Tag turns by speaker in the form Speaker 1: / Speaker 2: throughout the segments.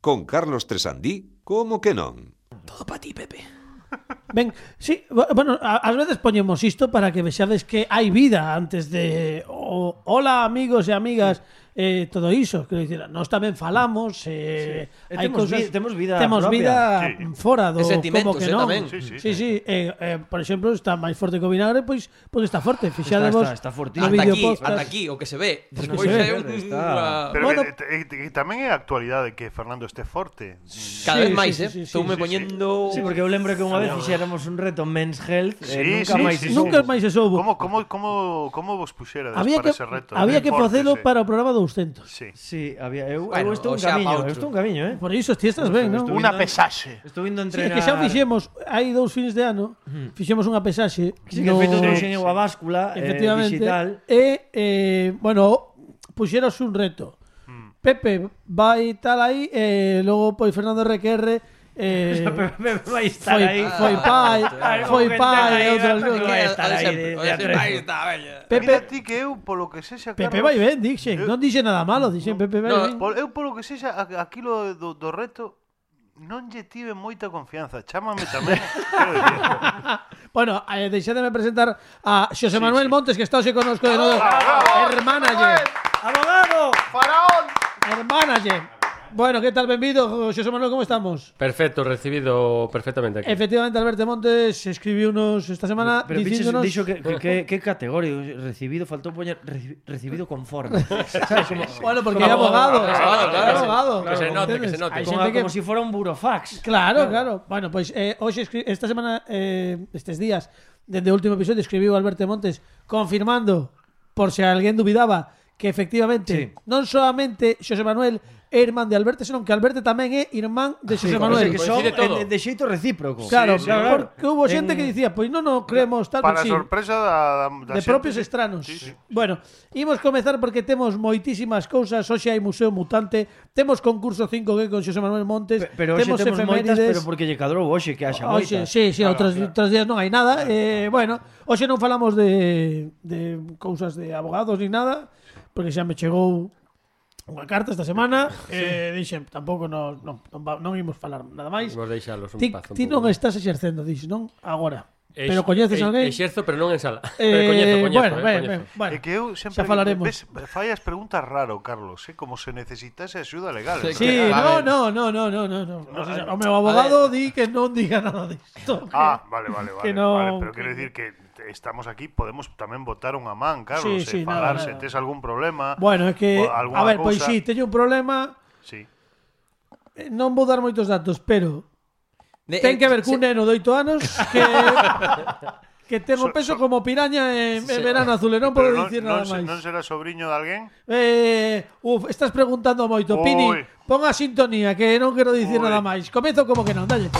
Speaker 1: Con Carlos Tresandí, como que non?
Speaker 2: Todo para ti, Pepe.
Speaker 3: Ben, sí, bo- bueno, a- ás veces poñemos isto para que vexades que hai vida antes de o, hola amigos e amigas eh, todo iso, quero dicir, nós tamén falamos eh,
Speaker 4: Sí. E
Speaker 3: hai
Speaker 4: temos
Speaker 3: cousas,
Speaker 4: vi- temos vida
Speaker 3: temos
Speaker 4: propia.
Speaker 3: vida
Speaker 5: Sí.
Speaker 3: fora do
Speaker 2: E sentimentos,
Speaker 3: como que
Speaker 2: eh,
Speaker 3: non
Speaker 2: tamén.
Speaker 3: sí, sí, sí, sí. Eh, eh, por exemplo, está máis forte que o vinagre pois, pois está forte, fixadevos
Speaker 4: está- está fortísimo.
Speaker 3: no
Speaker 4: Hasta
Speaker 2: Ata aquí,
Speaker 3: videopodcast.
Speaker 2: ata aquí, o que se ve.
Speaker 4: Pois
Speaker 3: que
Speaker 2: Despois
Speaker 3: se ve,
Speaker 2: é un-
Speaker 4: está.
Speaker 2: unha-
Speaker 5: Pero
Speaker 3: Bueno.
Speaker 5: bueno, que, eh, que, que tamén é a actualidade que Fernando este forte.
Speaker 3: Sí,
Speaker 2: Cada vez
Speaker 3: sí,
Speaker 2: máis,
Speaker 3: sí,
Speaker 2: eh?
Speaker 3: sí, sí,
Speaker 2: Estou me
Speaker 5: sí, sí.
Speaker 2: poñendo...
Speaker 4: Sí, porque eu lembro que unha vez fixéramos un reto Men's Health e nunca máis
Speaker 3: sí, Nunca máis se soubo.
Speaker 5: Como, como, como, como vos puxerades
Speaker 3: Había que
Speaker 5: para ese reto?
Speaker 3: había que
Speaker 5: Deportes,
Speaker 3: facelo
Speaker 5: eh.
Speaker 3: para o programa 200.
Speaker 5: Sí.
Speaker 4: Sí, había eu, eu
Speaker 2: Bueno,
Speaker 4: estou un
Speaker 2: o xa pa
Speaker 4: camiño,
Speaker 2: outro.
Speaker 4: eu estou un camiño, eh.
Speaker 3: Por iso ti estás ben, non?
Speaker 4: Estuve
Speaker 6: Una
Speaker 4: viendo-
Speaker 6: pesaxe.
Speaker 4: Estou indo a
Speaker 3: Sí, é
Speaker 4: entrenar.
Speaker 3: que xa fixemos, hai dous fins de ano, fixemos unha pesaxe
Speaker 4: Sí, que feito
Speaker 3: no-
Speaker 4: trouxen eu a báscula eh,
Speaker 3: Efectivamente.
Speaker 4: digital.
Speaker 3: E, eh, bueno, puxeros un reto. Pepe vai tal aí, e logo pois Fernando Requerre eh,
Speaker 4: Vai estar
Speaker 3: foi,
Speaker 4: aí.
Speaker 3: foi pai,
Speaker 4: Algo
Speaker 3: foi
Speaker 4: que ten
Speaker 3: pai,
Speaker 4: aí,
Speaker 3: e outras
Speaker 4: algo
Speaker 3: cousas.
Speaker 4: que-
Speaker 2: Vai
Speaker 4: estar
Speaker 2: estar
Speaker 4: aí
Speaker 2: aí,
Speaker 4: de- de
Speaker 2: vai
Speaker 4: atrás.
Speaker 2: estar, veña.
Speaker 5: Mira
Speaker 3: Pepe,
Speaker 5: ti que eu, polo que sexa...
Speaker 3: Pepe vai
Speaker 5: Carlos,
Speaker 3: ben, dixen.
Speaker 5: Eu-
Speaker 3: Non dixe nada malo, dixen Pepe vai ben.
Speaker 2: no,
Speaker 5: Por, eu polo que sexa a- aquilo do, do reto non lle tive moita confianza. Chámame tamén. quero dicir.
Speaker 3: Bueno, eh, deixademe presentar a Xosé Manuel Montes, que está hoxe conosco de novo. Hermánalle,
Speaker 4: Abogado.
Speaker 6: ¡Faraón!
Speaker 3: hermánalle. Bueno, que tal, benvido, Xosé Manuel, como estamos?
Speaker 7: Perfecto, recibido perfectamente aquí.
Speaker 3: Efectivamente, Alberto Montes escribiunos esta semana
Speaker 4: Pero bichos,
Speaker 3: dicíndonos...
Speaker 4: dixo que, que, que, que categoría recibido, faltou poñer reci- recibido conforme. ¿Sabes? Como,
Speaker 3: Bueno, porque é abogado.
Speaker 7: Claro,
Speaker 3: Claro,
Speaker 7: claro,
Speaker 3: claro,
Speaker 7: claro.
Speaker 3: abogado.
Speaker 7: Que se note, que se note.
Speaker 3: Hai
Speaker 4: como,
Speaker 3: xente que...
Speaker 4: como si fuera un burofax.
Speaker 3: Claro, claro. Bueno, pois pues, eh, hoxe, escri- esta semana, eh, estes días, dende o último episodio, escribiu Alberto Montes confirmando, por se alguén dubidaba, que efectivamente sí.
Speaker 4: Sí.
Speaker 3: non solamente Xosé Manuel é irmán de Alberto, senón que Alberto tamén é irmán de Xosé sí, Manuel.
Speaker 4: O sea, que son
Speaker 7: coincide todo.
Speaker 4: de, de xeito recíproco.
Speaker 3: Claro,
Speaker 5: Sí, sí,
Speaker 3: claro,
Speaker 5: claro.
Speaker 3: porque hubo xente que dicía, pois non, non creemos, tal,
Speaker 5: Para
Speaker 3: pois sí.
Speaker 5: sorpresa da, da, da
Speaker 3: de
Speaker 5: xente,
Speaker 3: propios
Speaker 5: sí.
Speaker 3: estranos.
Speaker 5: Sí, sí.
Speaker 3: Bueno, imos comezar porque temos moitísimas cousas. Hoxe hai Museo Mutante, temos concurso 5G con Xosé Manuel Montes,
Speaker 4: Pe- Pero hoxe temos moitas, pero porque lle cadrou hoxe que haxa
Speaker 3: Hoxe,
Speaker 4: moitas.
Speaker 3: sí, sí, outros, outros días non hai nada. Eh, bueno, hoxe non falamos de, de cousas de abogados ni nada, porque xa me chegou unha carta esta semana. Eh, dixen, tampouco non, non, non, va- non imos falar nada máis.
Speaker 7: Vos deixalos un
Speaker 3: Ti,
Speaker 7: paz un
Speaker 3: ti non
Speaker 7: pouco.
Speaker 3: estás exercendo, dis, non? Agora.
Speaker 7: Ex-
Speaker 3: pero coñeces
Speaker 7: ex-
Speaker 3: alguén?
Speaker 7: Exerzo, pero non en sala.
Speaker 3: Eh,
Speaker 7: Eh, coñezo, coñezo,
Speaker 3: bueno,
Speaker 7: eh,
Speaker 3: ben,
Speaker 7: coñezo.
Speaker 3: ben, bueno.
Speaker 5: É que eu sempre
Speaker 3: xa falaremos.
Speaker 5: Ves, fallas preguntas raro, Carlos, eh? como se necesitase axuda legal. ah,
Speaker 2: Sí,
Speaker 3: Sí,
Speaker 5: en
Speaker 2: A
Speaker 3: no, no,
Speaker 2: ver.
Speaker 3: no, no, no, no, no. O, sea, o meu abogado di que non diga nada disto.
Speaker 5: Ah, vale, vale, vale,
Speaker 3: que no-
Speaker 5: vale. Pero quero dicir que estamos aquí, podemos tamén votar unha man, Carlos,
Speaker 3: Sí, sí,
Speaker 5: sí, sí, e
Speaker 3: nada,
Speaker 5: falar se
Speaker 3: nada.
Speaker 5: tes algún problema.
Speaker 3: Bueno, é que
Speaker 5: o
Speaker 3: a
Speaker 5: alguna
Speaker 3: ver, pois
Speaker 5: cousa.
Speaker 3: si, teño un problema,
Speaker 5: Sí.
Speaker 3: eh, non vou dar moitos datos, pero
Speaker 7: Eh,
Speaker 2: De- eh,
Speaker 3: ten que ver
Speaker 2: se-
Speaker 3: cun neno de 8 anos que que ten o peso como piraña en, en verano azul, e non podo
Speaker 5: Pero non,
Speaker 3: dicir
Speaker 5: non,
Speaker 3: nada
Speaker 5: se-
Speaker 3: máis.
Speaker 5: non será sobriño de alguén?
Speaker 3: Eh, uf, estás preguntando moito, Pini.
Speaker 5: Oi.
Speaker 3: Pon a sintonía que non quero dicir
Speaker 5: Oi.
Speaker 3: nada máis. Comezo como que non, dalle.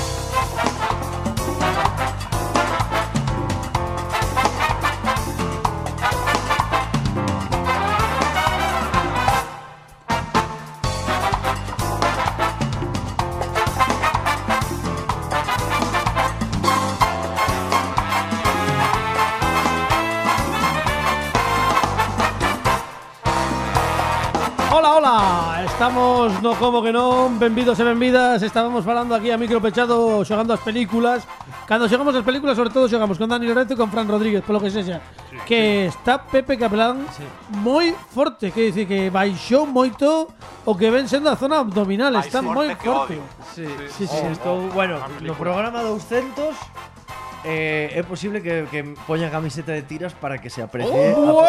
Speaker 3: Hola, hola, estamos no como que non Benvidos e benvidas, estábamos falando aquí a micro pechado Xogando as películas Cando xogamos as películas, sobre todo xogamos Con Dani Lorenzo e con Fran Rodríguez, polo que sexa Que está Pepe Capelán Moi forte, que dice que baixou moito O que ven sendo a zona abdominal,
Speaker 6: Máis
Speaker 3: está
Speaker 6: forte
Speaker 3: moi
Speaker 6: que
Speaker 3: forte
Speaker 6: odio.
Speaker 4: Sí,
Speaker 3: Sí, sí.
Speaker 4: estou, bueno, no
Speaker 6: película.
Speaker 4: programa 200 eh, é posible que, que poña camiseta de tiras para que se aprecie
Speaker 3: Bueno,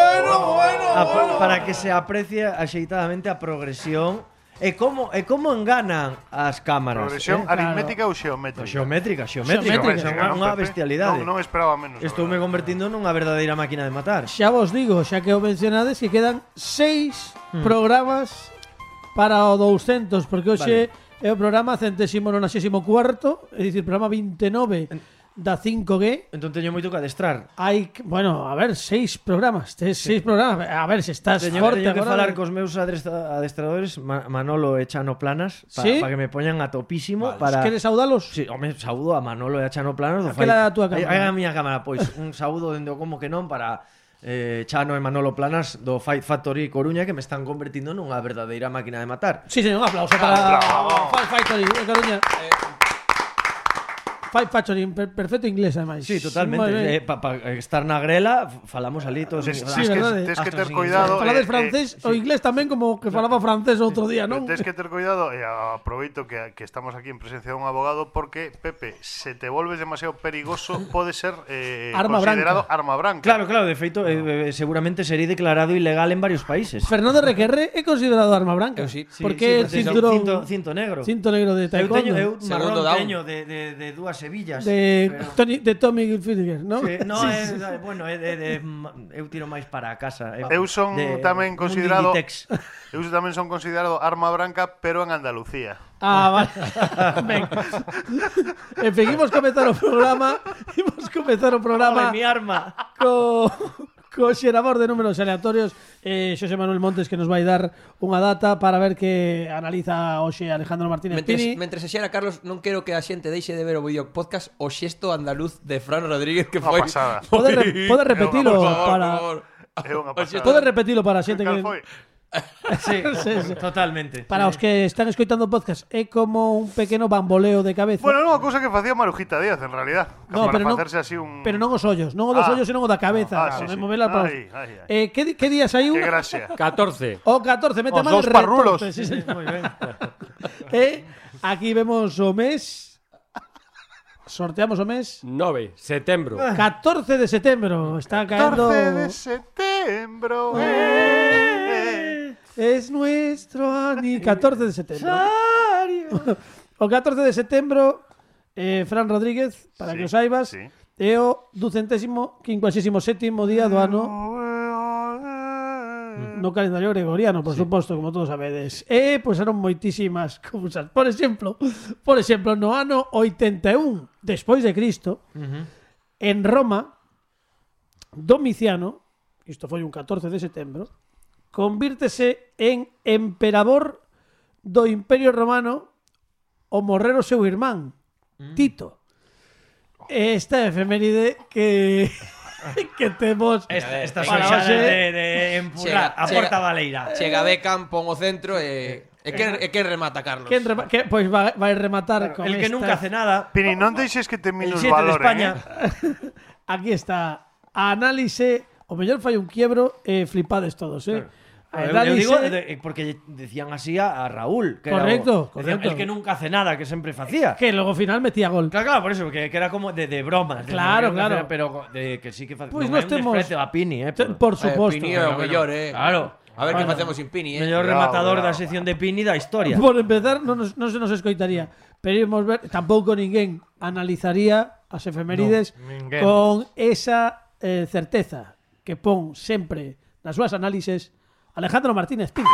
Speaker 3: bueno
Speaker 4: a- para que se aprecie axeitadamente a progresión e como e como enganan as cámaras. eh?
Speaker 5: Progresión aritmética
Speaker 4: No,
Speaker 5: ou xeométrica?
Speaker 4: Xeométrica, xeométrica,
Speaker 3: Xeométrica,
Speaker 4: xeométrica
Speaker 5: non,
Speaker 4: unha
Speaker 5: Pepe?
Speaker 4: bestialidade.
Speaker 5: Non, non esperaba menos. a
Speaker 4: Estou me
Speaker 5: verdade.
Speaker 4: convertindo nunha verdadeira máquina de matar.
Speaker 3: Xa vos digo, xa que o mencionades que quedan seis
Speaker 4: Mm.
Speaker 3: programas para o 200, porque hoxe é o programa centésimo nonasésimo cuarto, é dicir, programa 29 da 5G.
Speaker 4: Entón teño moito que adestrar.
Speaker 3: Hai, que- bueno, a ver, seis programas, tes seis programas. A ver, se estás
Speaker 4: Teño,
Speaker 3: forte
Speaker 4: teño que
Speaker 3: agora.
Speaker 4: falar cos meus adresta- adestradores Ma- Manolo e Chano Planas para
Speaker 3: Sí?
Speaker 4: pa que me poñan a
Speaker 3: Os
Speaker 4: topísimo para
Speaker 3: Queres saudalos?
Speaker 4: Sí, home, saudo a Manolo e a Chano Planas do
Speaker 3: Aquela da túa
Speaker 4: Ai-
Speaker 3: cámara.
Speaker 4: ai, a miña cámara, pois un saúdo dende o como que non para eh, Chano e Manolo Planas do Fight Factory Coruña que me están convertindo nunha verdadeira máquina de matar.
Speaker 3: Sí, señor, un aplauso para
Speaker 5: bravo.
Speaker 3: Fight Factory, de
Speaker 4: Eh,
Speaker 3: Coruña. Five Factory, en per- perfecto inglés, además.
Speaker 4: Sí, totalmente. Eh, pa, pa estar na grela, f- falamos ali todos. Ah,
Speaker 5: Tes,
Speaker 4: en-
Speaker 5: tes
Speaker 3: Sí,
Speaker 5: que,
Speaker 3: verdade.
Speaker 5: tes que
Speaker 4: Hasta
Speaker 5: ter
Speaker 4: sin-
Speaker 5: cuidado.
Speaker 3: Falaba
Speaker 5: eh, eh,
Speaker 3: francés o inglés tamén como que falaba francés outro día,
Speaker 5: Pero
Speaker 3: non?
Speaker 5: Tens que ter cuidado e aproveito que, que estamos aquí en presencia de un abogado porque, Pepe, se te volves demasiado perigoso pode ser eh,
Speaker 3: Arma
Speaker 5: considerado
Speaker 3: branca.
Speaker 5: arma branca.
Speaker 4: Claro, claro, de feito, eh, eh, seguramente sería declarado ilegal en varios países.
Speaker 3: Fernando Requerre é considerado arma branca.
Speaker 2: Eu sí.
Speaker 4: Sí,
Speaker 3: Porque
Speaker 4: sí,
Speaker 3: cinturón...
Speaker 4: cinto, cinto negro.
Speaker 3: Cinto negro de
Speaker 4: eu teño,
Speaker 3: taekwondo.
Speaker 4: eu marrón
Speaker 2: Segundo down.
Speaker 4: teño de, de, de dúas sevillas.
Speaker 3: de,
Speaker 4: pero-
Speaker 3: Tony, de Tommy Hilfiger, ¿no?
Speaker 4: Sí, no, é, é, bueno, é de, de, mm, eu tiro máis para a casa. é-
Speaker 5: Eu son
Speaker 4: de-
Speaker 5: tamén
Speaker 4: un
Speaker 5: considerado
Speaker 4: Digitex.
Speaker 5: Eu tamén son considerado arma branca, pero en Andalucía.
Speaker 3: Ah, vale. Ben. e seguimos comezar o programa. Imos comezar o
Speaker 4: Ai,
Speaker 3: programa
Speaker 4: mi arma.
Speaker 3: co co xerador de números aleatorios eh, Xosé Manuel Montes que nos vai dar unha data para ver que analiza hoxe Alejandro Martínez
Speaker 2: Mentres,
Speaker 3: Pini.
Speaker 2: mentres se xera, Carlos, non quero que a xente deixe de ver o vídeo podcast o xesto andaluz de Fran Rodríguez que
Speaker 5: Unha
Speaker 2: foi...
Speaker 5: pasada.
Speaker 3: Podes re, pode repetilo
Speaker 5: Por favor,
Speaker 3: para
Speaker 2: Por favor.
Speaker 5: É unha
Speaker 2: O xesto-
Speaker 5: pasada.
Speaker 3: Podes repetilo para a xente
Speaker 5: Cal
Speaker 3: que
Speaker 5: foi?
Speaker 4: Sí,
Speaker 3: Sí, sí.
Speaker 4: totalmente.
Speaker 3: para
Speaker 4: Sí.
Speaker 3: os que están escoitando o podcast é como un pequeno bamboleo de cabeza.
Speaker 5: Bueno, non, a cousa que facía Marujita Díaz, en realidad.
Speaker 3: No,
Speaker 5: para
Speaker 3: pero non-
Speaker 5: facerse así un...
Speaker 3: Pero non os ollos, non o dos
Speaker 5: Ah.
Speaker 3: ollos, senón o da cabeza.
Speaker 5: Ah, sí, sí.
Speaker 3: Movela para os-
Speaker 5: Ai, ai, ai.
Speaker 3: Eh, que, di- que día saiu?
Speaker 5: Que gracia.
Speaker 7: 14.
Speaker 3: O 14, mete
Speaker 5: Os
Speaker 3: mano
Speaker 5: dous
Speaker 3: el
Speaker 5: parrulos.
Speaker 3: retorte, sí,
Speaker 4: Sí,
Speaker 3: señor.
Speaker 4: moi ben.
Speaker 3: Eh, aquí vemos o mes. Sorteamos o mes.
Speaker 7: 9. Setembro.
Speaker 3: Ah, 14 de setembro. Está caendo...
Speaker 5: 14 Ah. de setembro. eh, eh.
Speaker 3: Es nuestro ani... 14 de setembro. O 14 de setembro, eh, Fran Rodríguez, para
Speaker 5: Sí,
Speaker 3: que os saibas,
Speaker 5: sí.
Speaker 3: é o ducentésimo, quincuagésimo sétimo día do ano no calendario gregoriano, por suposto, como todos sabedes. E puseron moitísimas cousas. Por exemplo, por exemplo, no ano 81 despois de Cristo, en Roma, Domiciano, isto foi un 14 de setembro, convírtese en emperador do Imperio Romano o morrer o seu irmán, Tito. Esta efeméride que que temos
Speaker 4: Esta, esta
Speaker 2: Para
Speaker 4: xoxada
Speaker 3: hoxe-
Speaker 4: de, de empujar
Speaker 2: Chega,
Speaker 4: a
Speaker 2: chega.
Speaker 4: porta baleira.
Speaker 2: Chega Beckham, pon o centro eh, e... E quen, e quen remata, Carlos?
Speaker 3: Quen rema- Pues que, pois vai, vai rematar con
Speaker 4: El que
Speaker 3: esta.
Speaker 4: nunca hace nada.
Speaker 5: Pini, non deixes que te
Speaker 4: El
Speaker 5: minus
Speaker 4: 7 de España.
Speaker 5: Eh?
Speaker 3: Aquí está. Análise, o mellor fai un quiebro e flipades todos, eh.
Speaker 4: Yo- yo
Speaker 3: Análise-
Speaker 4: digo, de- porque decían así a, a Raúl. Que era
Speaker 3: Correcto,
Speaker 4: o- decían,
Speaker 3: correcto.
Speaker 4: el que nunca hace nada, que siempre hacía.
Speaker 3: que logo final metía gol.
Speaker 4: Claro, claro, por eso, que, que era como de, de bromas. de
Speaker 3: Claro,
Speaker 4: no, que
Speaker 3: claro.
Speaker 4: era, pero de que sí que facía.
Speaker 3: Pois
Speaker 4: no,
Speaker 3: nós
Speaker 4: é un
Speaker 3: temos-
Speaker 4: desprecio a Pini, eh,
Speaker 3: Te-
Speaker 4: pero-
Speaker 3: Por
Speaker 2: Eh, Pini é
Speaker 3: suposto.
Speaker 2: o mellor, eh.
Speaker 4: Claro.
Speaker 2: A ver que
Speaker 4: Bueno,
Speaker 2: facemos sin Pini, eh.
Speaker 4: Mellor
Speaker 5: Bravo,
Speaker 4: rematador
Speaker 5: bravo.
Speaker 4: da sección de Pini da historia.
Speaker 3: Por empezar, non, nos, non se nos escoitaría. Pero imos ver, tampouco ninguén analizaría as efemérides
Speaker 5: ninguén.
Speaker 3: con esa eh, certeza que pon sempre nas súas análises Alejandro Martínez Pinto.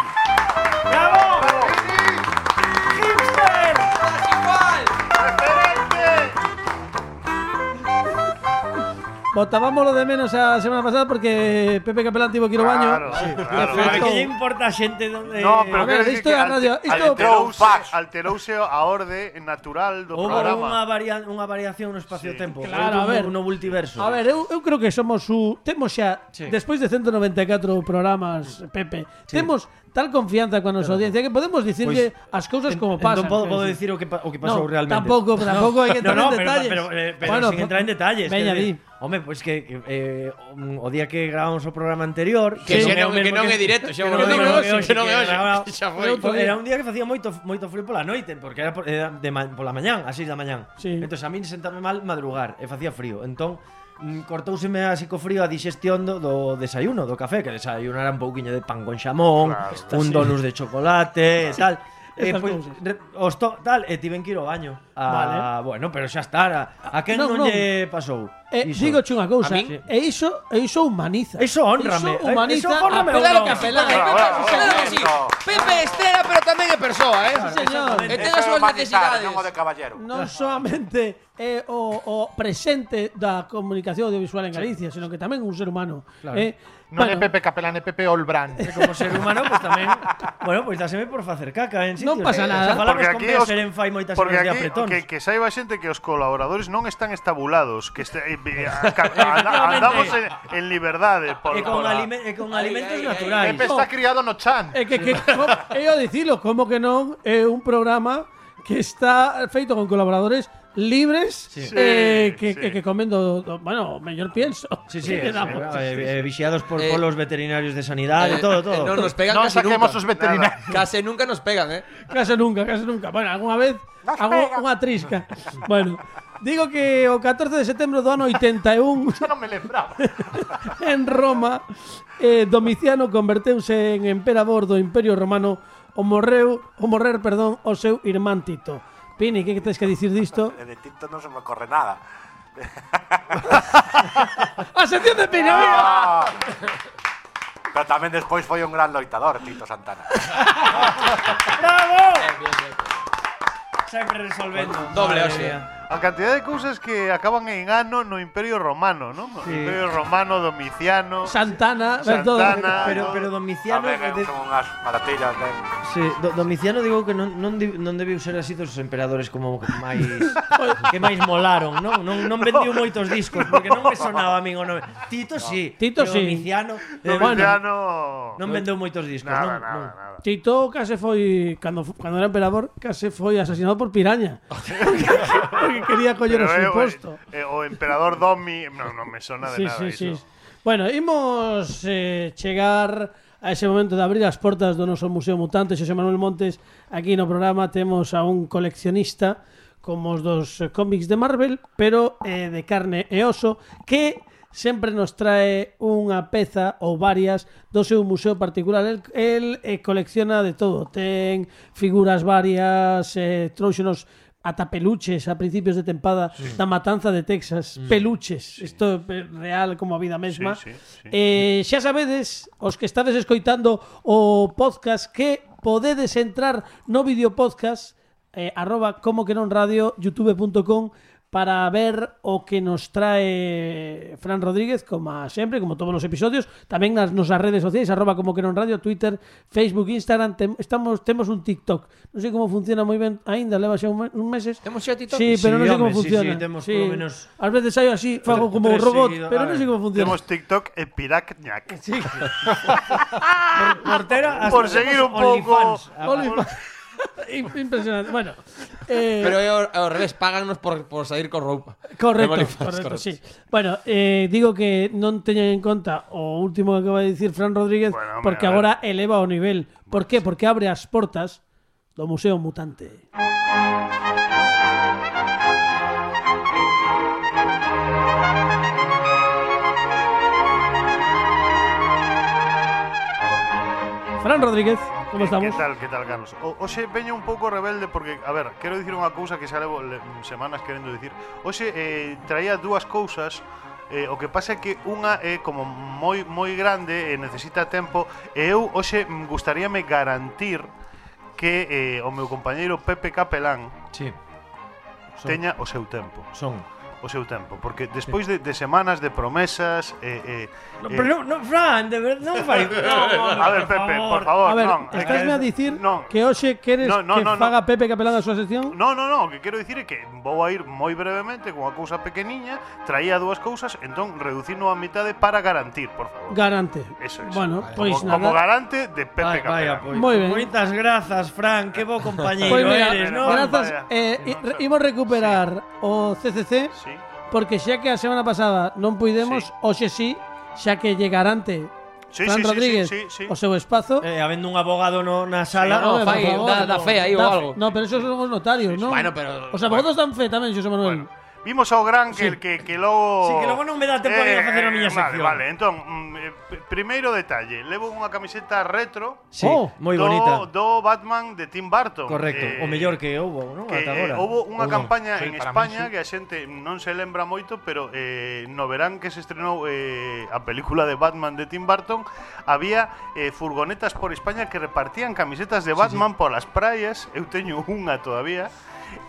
Speaker 3: Botábamolo de menos a semana pasada porque Pepe Capelán tivo que ir ao baño.
Speaker 5: Claro, sí, claro.
Speaker 4: Pero
Speaker 3: Perfecto.
Speaker 4: que lle importa a xente donde...
Speaker 5: No, pero
Speaker 3: A ver,
Speaker 5: quero dicir
Speaker 3: isto é
Speaker 5: que
Speaker 3: a radio-
Speaker 5: alte-
Speaker 3: isto-
Speaker 5: alterouse, alterouse a orde natural do
Speaker 4: Houve unha,
Speaker 5: programa.
Speaker 4: varia unha variación no espacio-tempo.
Speaker 3: Sí, claro, a ver.
Speaker 4: Houve un- No multiverso.
Speaker 3: A ver, eu, eu creo que somos su... Temos xa, sí.
Speaker 4: Sí. Mm.
Speaker 3: despois de 194 programas, Pepe, sí. temos tal confianza con a nosa audiencia que podemos dicirlle
Speaker 4: pois,
Speaker 3: pues, as cousas como pasan.
Speaker 4: Entón podo,
Speaker 3: quero
Speaker 4: podo decir o que, pa- o que pasou
Speaker 3: No,
Speaker 4: realmente.
Speaker 3: tampouco, tampouco hai que entrar
Speaker 4: no, no,
Speaker 3: en
Speaker 4: pero,
Speaker 3: detalles.
Speaker 4: Pero, pero, pero
Speaker 3: Bueno,
Speaker 4: sin entrar en detalles.
Speaker 3: veña, di.
Speaker 4: quero dicir, Home, pois pues que, que eh, o día que gravamos o programa anterior...
Speaker 2: Que
Speaker 3: Sí.
Speaker 4: é
Speaker 2: xa
Speaker 4: o
Speaker 2: non- que
Speaker 4: mesmo
Speaker 2: non é directo, xa
Speaker 4: que
Speaker 2: vos
Speaker 4: non é
Speaker 2: lo
Speaker 4: o
Speaker 2: digo,
Speaker 4: mesmo que
Speaker 2: que non é
Speaker 4: que
Speaker 2: hoxe,
Speaker 4: grava-
Speaker 2: que xa foi.
Speaker 4: Era un- Era un día que facía moito moito frío pola noite, porque era por, era de ma- pola mañán, así da mañán.
Speaker 3: Sí.
Speaker 4: Entón a min sentame mal madrugar e facía frío. Entón mm, cortóuseme así co frío a digestión do, do desayuno, do café, que desayunar un pouquiño de pan con xamón,
Speaker 5: Claro,
Speaker 4: un donus de chocolate e tal. E
Speaker 3: Estas
Speaker 4: pois
Speaker 3: cousas.
Speaker 4: re- os to, tal, e tiven que ir ao baño. A, bueno, pero xa está, a, a quen
Speaker 3: Non,
Speaker 4: non,
Speaker 3: non.
Speaker 4: lle pasou?
Speaker 3: Eh,
Speaker 4: Iso.
Speaker 3: digo che unha cousa,
Speaker 2: A min-
Speaker 3: e iso, e iso humaniza.
Speaker 4: Iso
Speaker 3: Iso
Speaker 4: hónrame.
Speaker 3: humaniza.
Speaker 4: Iso hónrame
Speaker 3: a Pepe
Speaker 4: ou non?
Speaker 6: Ah,
Speaker 3: Capelán.
Speaker 5: Bravo, bravo,
Speaker 2: Claro que sí.
Speaker 5: bravo.
Speaker 2: Pepe Estera, pero tamén é persoa, eh.
Speaker 3: Señor, Eh,
Speaker 2: E ten as súas necesidades.
Speaker 4: Ah,
Speaker 5: caballero.
Speaker 3: non solamente é o, o presente da comunicación audiovisual en Galicia, sino que tamén un ser humano.
Speaker 4: Claro.
Speaker 3: Eh,
Speaker 6: Non é Pepe Capelán, é Pepe Olbrán.
Speaker 4: E como ser humano, pues tamén, bueno, pois pues, dáseme por facer caca en
Speaker 3: Non
Speaker 4: sitios.
Speaker 3: pasa nada.
Speaker 4: Xa falamos
Speaker 5: Porque
Speaker 4: con
Speaker 5: aquí,
Speaker 4: Bea
Speaker 5: os,
Speaker 4: Seren fai moitas
Speaker 5: porque
Speaker 4: horas de
Speaker 5: aquí
Speaker 4: apretóns.
Speaker 5: que, que saiba xente que os colaboradores non están estabulados, que este, eh, eh, ca- anda- andamos en, en liberdade por,
Speaker 4: E con, Oh.
Speaker 5: por a-
Speaker 4: alime- e con alimentos
Speaker 2: ai, ai,
Speaker 4: naturais. Eh.
Speaker 6: Pepe está criado no chan.
Speaker 3: É que, que como, eu dicilo, como que non é un programa que está feito con colaboradores libres eh, que,
Speaker 5: Sí,
Speaker 3: que,
Speaker 5: sí.
Speaker 3: que comen do- do- bueno, mellor pienso.
Speaker 4: Sí, sí,
Speaker 3: Que
Speaker 4: es,
Speaker 3: damos.
Speaker 4: eh, eh, vigiados por,
Speaker 2: Eh,
Speaker 4: por los veterinarios de sanidad y todo, todo.
Speaker 2: No nos pegan
Speaker 6: No
Speaker 2: casi
Speaker 6: saquemos
Speaker 2: nunca.
Speaker 6: sus veterinarios.
Speaker 2: Casi nunca nos pegan, ¿eh?
Speaker 3: Casi nunca, casi nunca. Bueno, alguna vez hago unha trisca. bueno, digo que o 14 de setembro do ano 81
Speaker 6: Xa non me lembraba.
Speaker 3: en Roma, eh, Domiciano converteuse en emperador do Imperio Romano o morreu, o morrer, perdón, o seu irmán Tito. Pini, que que tes que dicir disto?
Speaker 8: De Tito no se me ocurre nada.
Speaker 3: A sección de Pini, amigo!
Speaker 5: ¡Ah!
Speaker 8: Pero tamén despois foi un gran loitador, Tito Santana.
Speaker 4: Sempre resolvendo.
Speaker 2: Doble
Speaker 4: madre
Speaker 2: hoxe.
Speaker 4: mía.
Speaker 5: A cantidad de cousas que acaban en ano no Imperio Romano, ¿no?
Speaker 4: Sí.
Speaker 5: Imperio Romano, Domiciano...
Speaker 3: Santana, ver todo.
Speaker 5: Santana.
Speaker 4: Pero, pero
Speaker 8: A
Speaker 4: Domiciano...
Speaker 8: ver,
Speaker 4: de-
Speaker 8: son unhas maratillas, ben.
Speaker 4: Sí, do- Domiciano digo que non, non, di- non debiu ser así dos emperadores como que máis que máis molaron, non? Non, non vendiu moitos discos porque non me sonaba a min o nome. Tito si,
Speaker 3: Tito sí.
Speaker 4: Domiciano, eh, bueno, pues
Speaker 5: Domiciano...
Speaker 4: non vendeu moitos discos,
Speaker 5: Nada,
Speaker 4: non,
Speaker 5: nada,
Speaker 4: non.
Speaker 5: nada.
Speaker 3: Tito case foi, cando, fu- cando era emperador, case foi asesinado por piraña. porque quería coller o
Speaker 5: Pero, eh,
Speaker 3: seu
Speaker 5: o-
Speaker 3: posto.
Speaker 5: eh, o Emperador Domi... No, non me sona
Speaker 3: Sí,
Speaker 5: de nada
Speaker 3: sí,
Speaker 5: iso.
Speaker 3: sí. Bueno, imos eh, chegar a ese momento de abrir as portas do noso Museo Mutante Xosé Manuel Montes aquí no programa temos a un coleccionista como os dos eh, cómics de Marvel pero eh, de carne e oso que sempre nos trae unha peza ou varias do seu museo particular el, el eh, colecciona de todo ten figuras varias eh, trouxenos ata peluches a principios de tempada da matanza de Texas, peluches, isto é real como a vida mesma.
Speaker 5: Mm. Sí, sí, sí.
Speaker 3: Eh, xa sabedes, os que estades escoitando o podcast que podedes entrar no vídeo podcast eh, arroba como que non radio youtube.com para ver o que nos trae Fran Rodríguez, como a sempre, como todos os episodios, tamén nas nosas redes sociais, arroba como que non radio, Twitter, Facebook, Instagram, tem, estamos, temos un TikTok. Non sei como funciona moi ben aínda, leva xa un, me- uns meses.
Speaker 2: Temos xa TikTok?
Speaker 3: Sí, pero
Speaker 4: Sí,
Speaker 3: non sei como
Speaker 4: home, sí,
Speaker 3: funciona.
Speaker 4: sí, temos polo menos
Speaker 3: Ás veces saio así, fago
Speaker 4: tres-
Speaker 3: como un
Speaker 4: tres
Speaker 3: robot,
Speaker 4: seguido-
Speaker 3: pero
Speaker 4: a
Speaker 3: non
Speaker 4: ver,
Speaker 3: sei como funciona.
Speaker 5: Temos Tiktok e Piracñac.
Speaker 4: Portera,
Speaker 5: Por seguir un pouco...
Speaker 4: OnlyFans. Ah,
Speaker 3: Oliva. Impresionante. Bueno, eh,
Speaker 2: Pero é ao, ao revés, páganos por, por sair con roupa.
Speaker 3: correcto,
Speaker 2: En OnlyFans,
Speaker 3: correcto, sí. Bueno, eh, digo que non teñan en conta o último que acaba de dicir Fran Rodríguez
Speaker 5: Bueno, hombre,
Speaker 3: porque
Speaker 5: a ver.
Speaker 3: agora eleva o nivel. Por qué? Porque abre as portas do Museo Mutante. Fran Rodríguez, como
Speaker 5: Eh,
Speaker 3: estamos?
Speaker 5: Que tal, que tal, Carlos? O, oxe, veño un pouco rebelde porque, a ver, quero dicir unha cousa que xa levo le, semanas querendo dicir. Oxe, eh, traía dúas cousas Eh, o que pasa é que unha é como moi moi grande e necesita tempo e eu hoxe mm, gustaríame garantir que eh, o meu compañeiro Pepe Capelán
Speaker 4: Sí. Son,
Speaker 5: teña o seu tempo,
Speaker 4: son.
Speaker 5: o seu tempo, porque despois de, de semanas de promesas eh, eh,
Speaker 4: No,
Speaker 5: eh,
Speaker 4: pero non, no, Fran, de verdad, non fai. No,
Speaker 5: A ver, Pepe, por favor,
Speaker 3: A ver,
Speaker 5: non, é que-
Speaker 3: estásme a dicir
Speaker 5: non.
Speaker 3: que hoxe queres
Speaker 5: No, no,
Speaker 3: que
Speaker 5: no, no.
Speaker 3: faga Pepe Capelán a súa sección?
Speaker 5: No, no, no, o que quero dicir é que vou a ir moi brevemente con a cousa pequeniña, traía dúas cousas, entón reducirno a mitade para garantir, por favor.
Speaker 3: Garante.
Speaker 5: Eso, eso.
Speaker 3: Bueno,
Speaker 5: como,
Speaker 3: pois
Speaker 5: como
Speaker 3: nada.
Speaker 5: garante de
Speaker 4: Vai, vai,
Speaker 5: Pepe Capelán.
Speaker 4: apoio.
Speaker 3: Moi ben.
Speaker 4: Moitas grazas, Fran, que bo compañeiro
Speaker 3: Pois Pues mira,
Speaker 4: eres, non?
Speaker 3: grazas.
Speaker 5: Vaya.
Speaker 3: Eh,
Speaker 5: Que non
Speaker 3: i-
Speaker 5: sabe.
Speaker 3: imos recuperar o CCC
Speaker 5: Sí.
Speaker 3: porque xa que a semana pasada non puidemos,
Speaker 5: Sí.
Speaker 3: hoxe sí, xa que lle garante
Speaker 5: Sí,
Speaker 3: Fran
Speaker 5: sí, sí,
Speaker 3: Rodríguez
Speaker 5: sí, sí, sí.
Speaker 3: o seu espazo.
Speaker 4: Eh, habendo un abogado no, na sala,
Speaker 2: no,
Speaker 3: Por
Speaker 2: fai,
Speaker 3: favor,
Speaker 2: da- da fe aí ou
Speaker 3: Da-
Speaker 2: algo.
Speaker 3: No, pero esos son os notarios, non?
Speaker 2: Bueno, pero-
Speaker 3: Os abogados dan fe tamén, José Manuel.
Speaker 5: Bueno, vimos ao gran
Speaker 3: Sí.
Speaker 5: que, que, que logo... Eh,
Speaker 4: Sí, que logo non me dá tempo a ir a facer a miña
Speaker 5: vale,
Speaker 4: sección.
Speaker 5: Vale, entón, mm, eh, p- primeiro detalle, levo unha camiseta retro
Speaker 4: Sí,
Speaker 3: Oh,
Speaker 4: moi
Speaker 5: do,
Speaker 4: bonita.
Speaker 5: do Batman de Tim Burton.
Speaker 4: Correcto,
Speaker 5: Eh,
Speaker 4: o mellor que houbo, non?
Speaker 5: que
Speaker 4: Ata
Speaker 5: eh,
Speaker 4: agora.
Speaker 5: houbo
Speaker 4: Ou non?
Speaker 5: unha campaña
Speaker 6: Sí,
Speaker 5: en
Speaker 6: Oh, para min
Speaker 5: España
Speaker 6: sí.
Speaker 5: que a xente non se lembra moito, pero eh, no verán que se estrenou eh, a película de Batman de Tim Burton, había eh, furgonetas por España que repartían camisetas de Batman polas praias, eu teño unha todavía.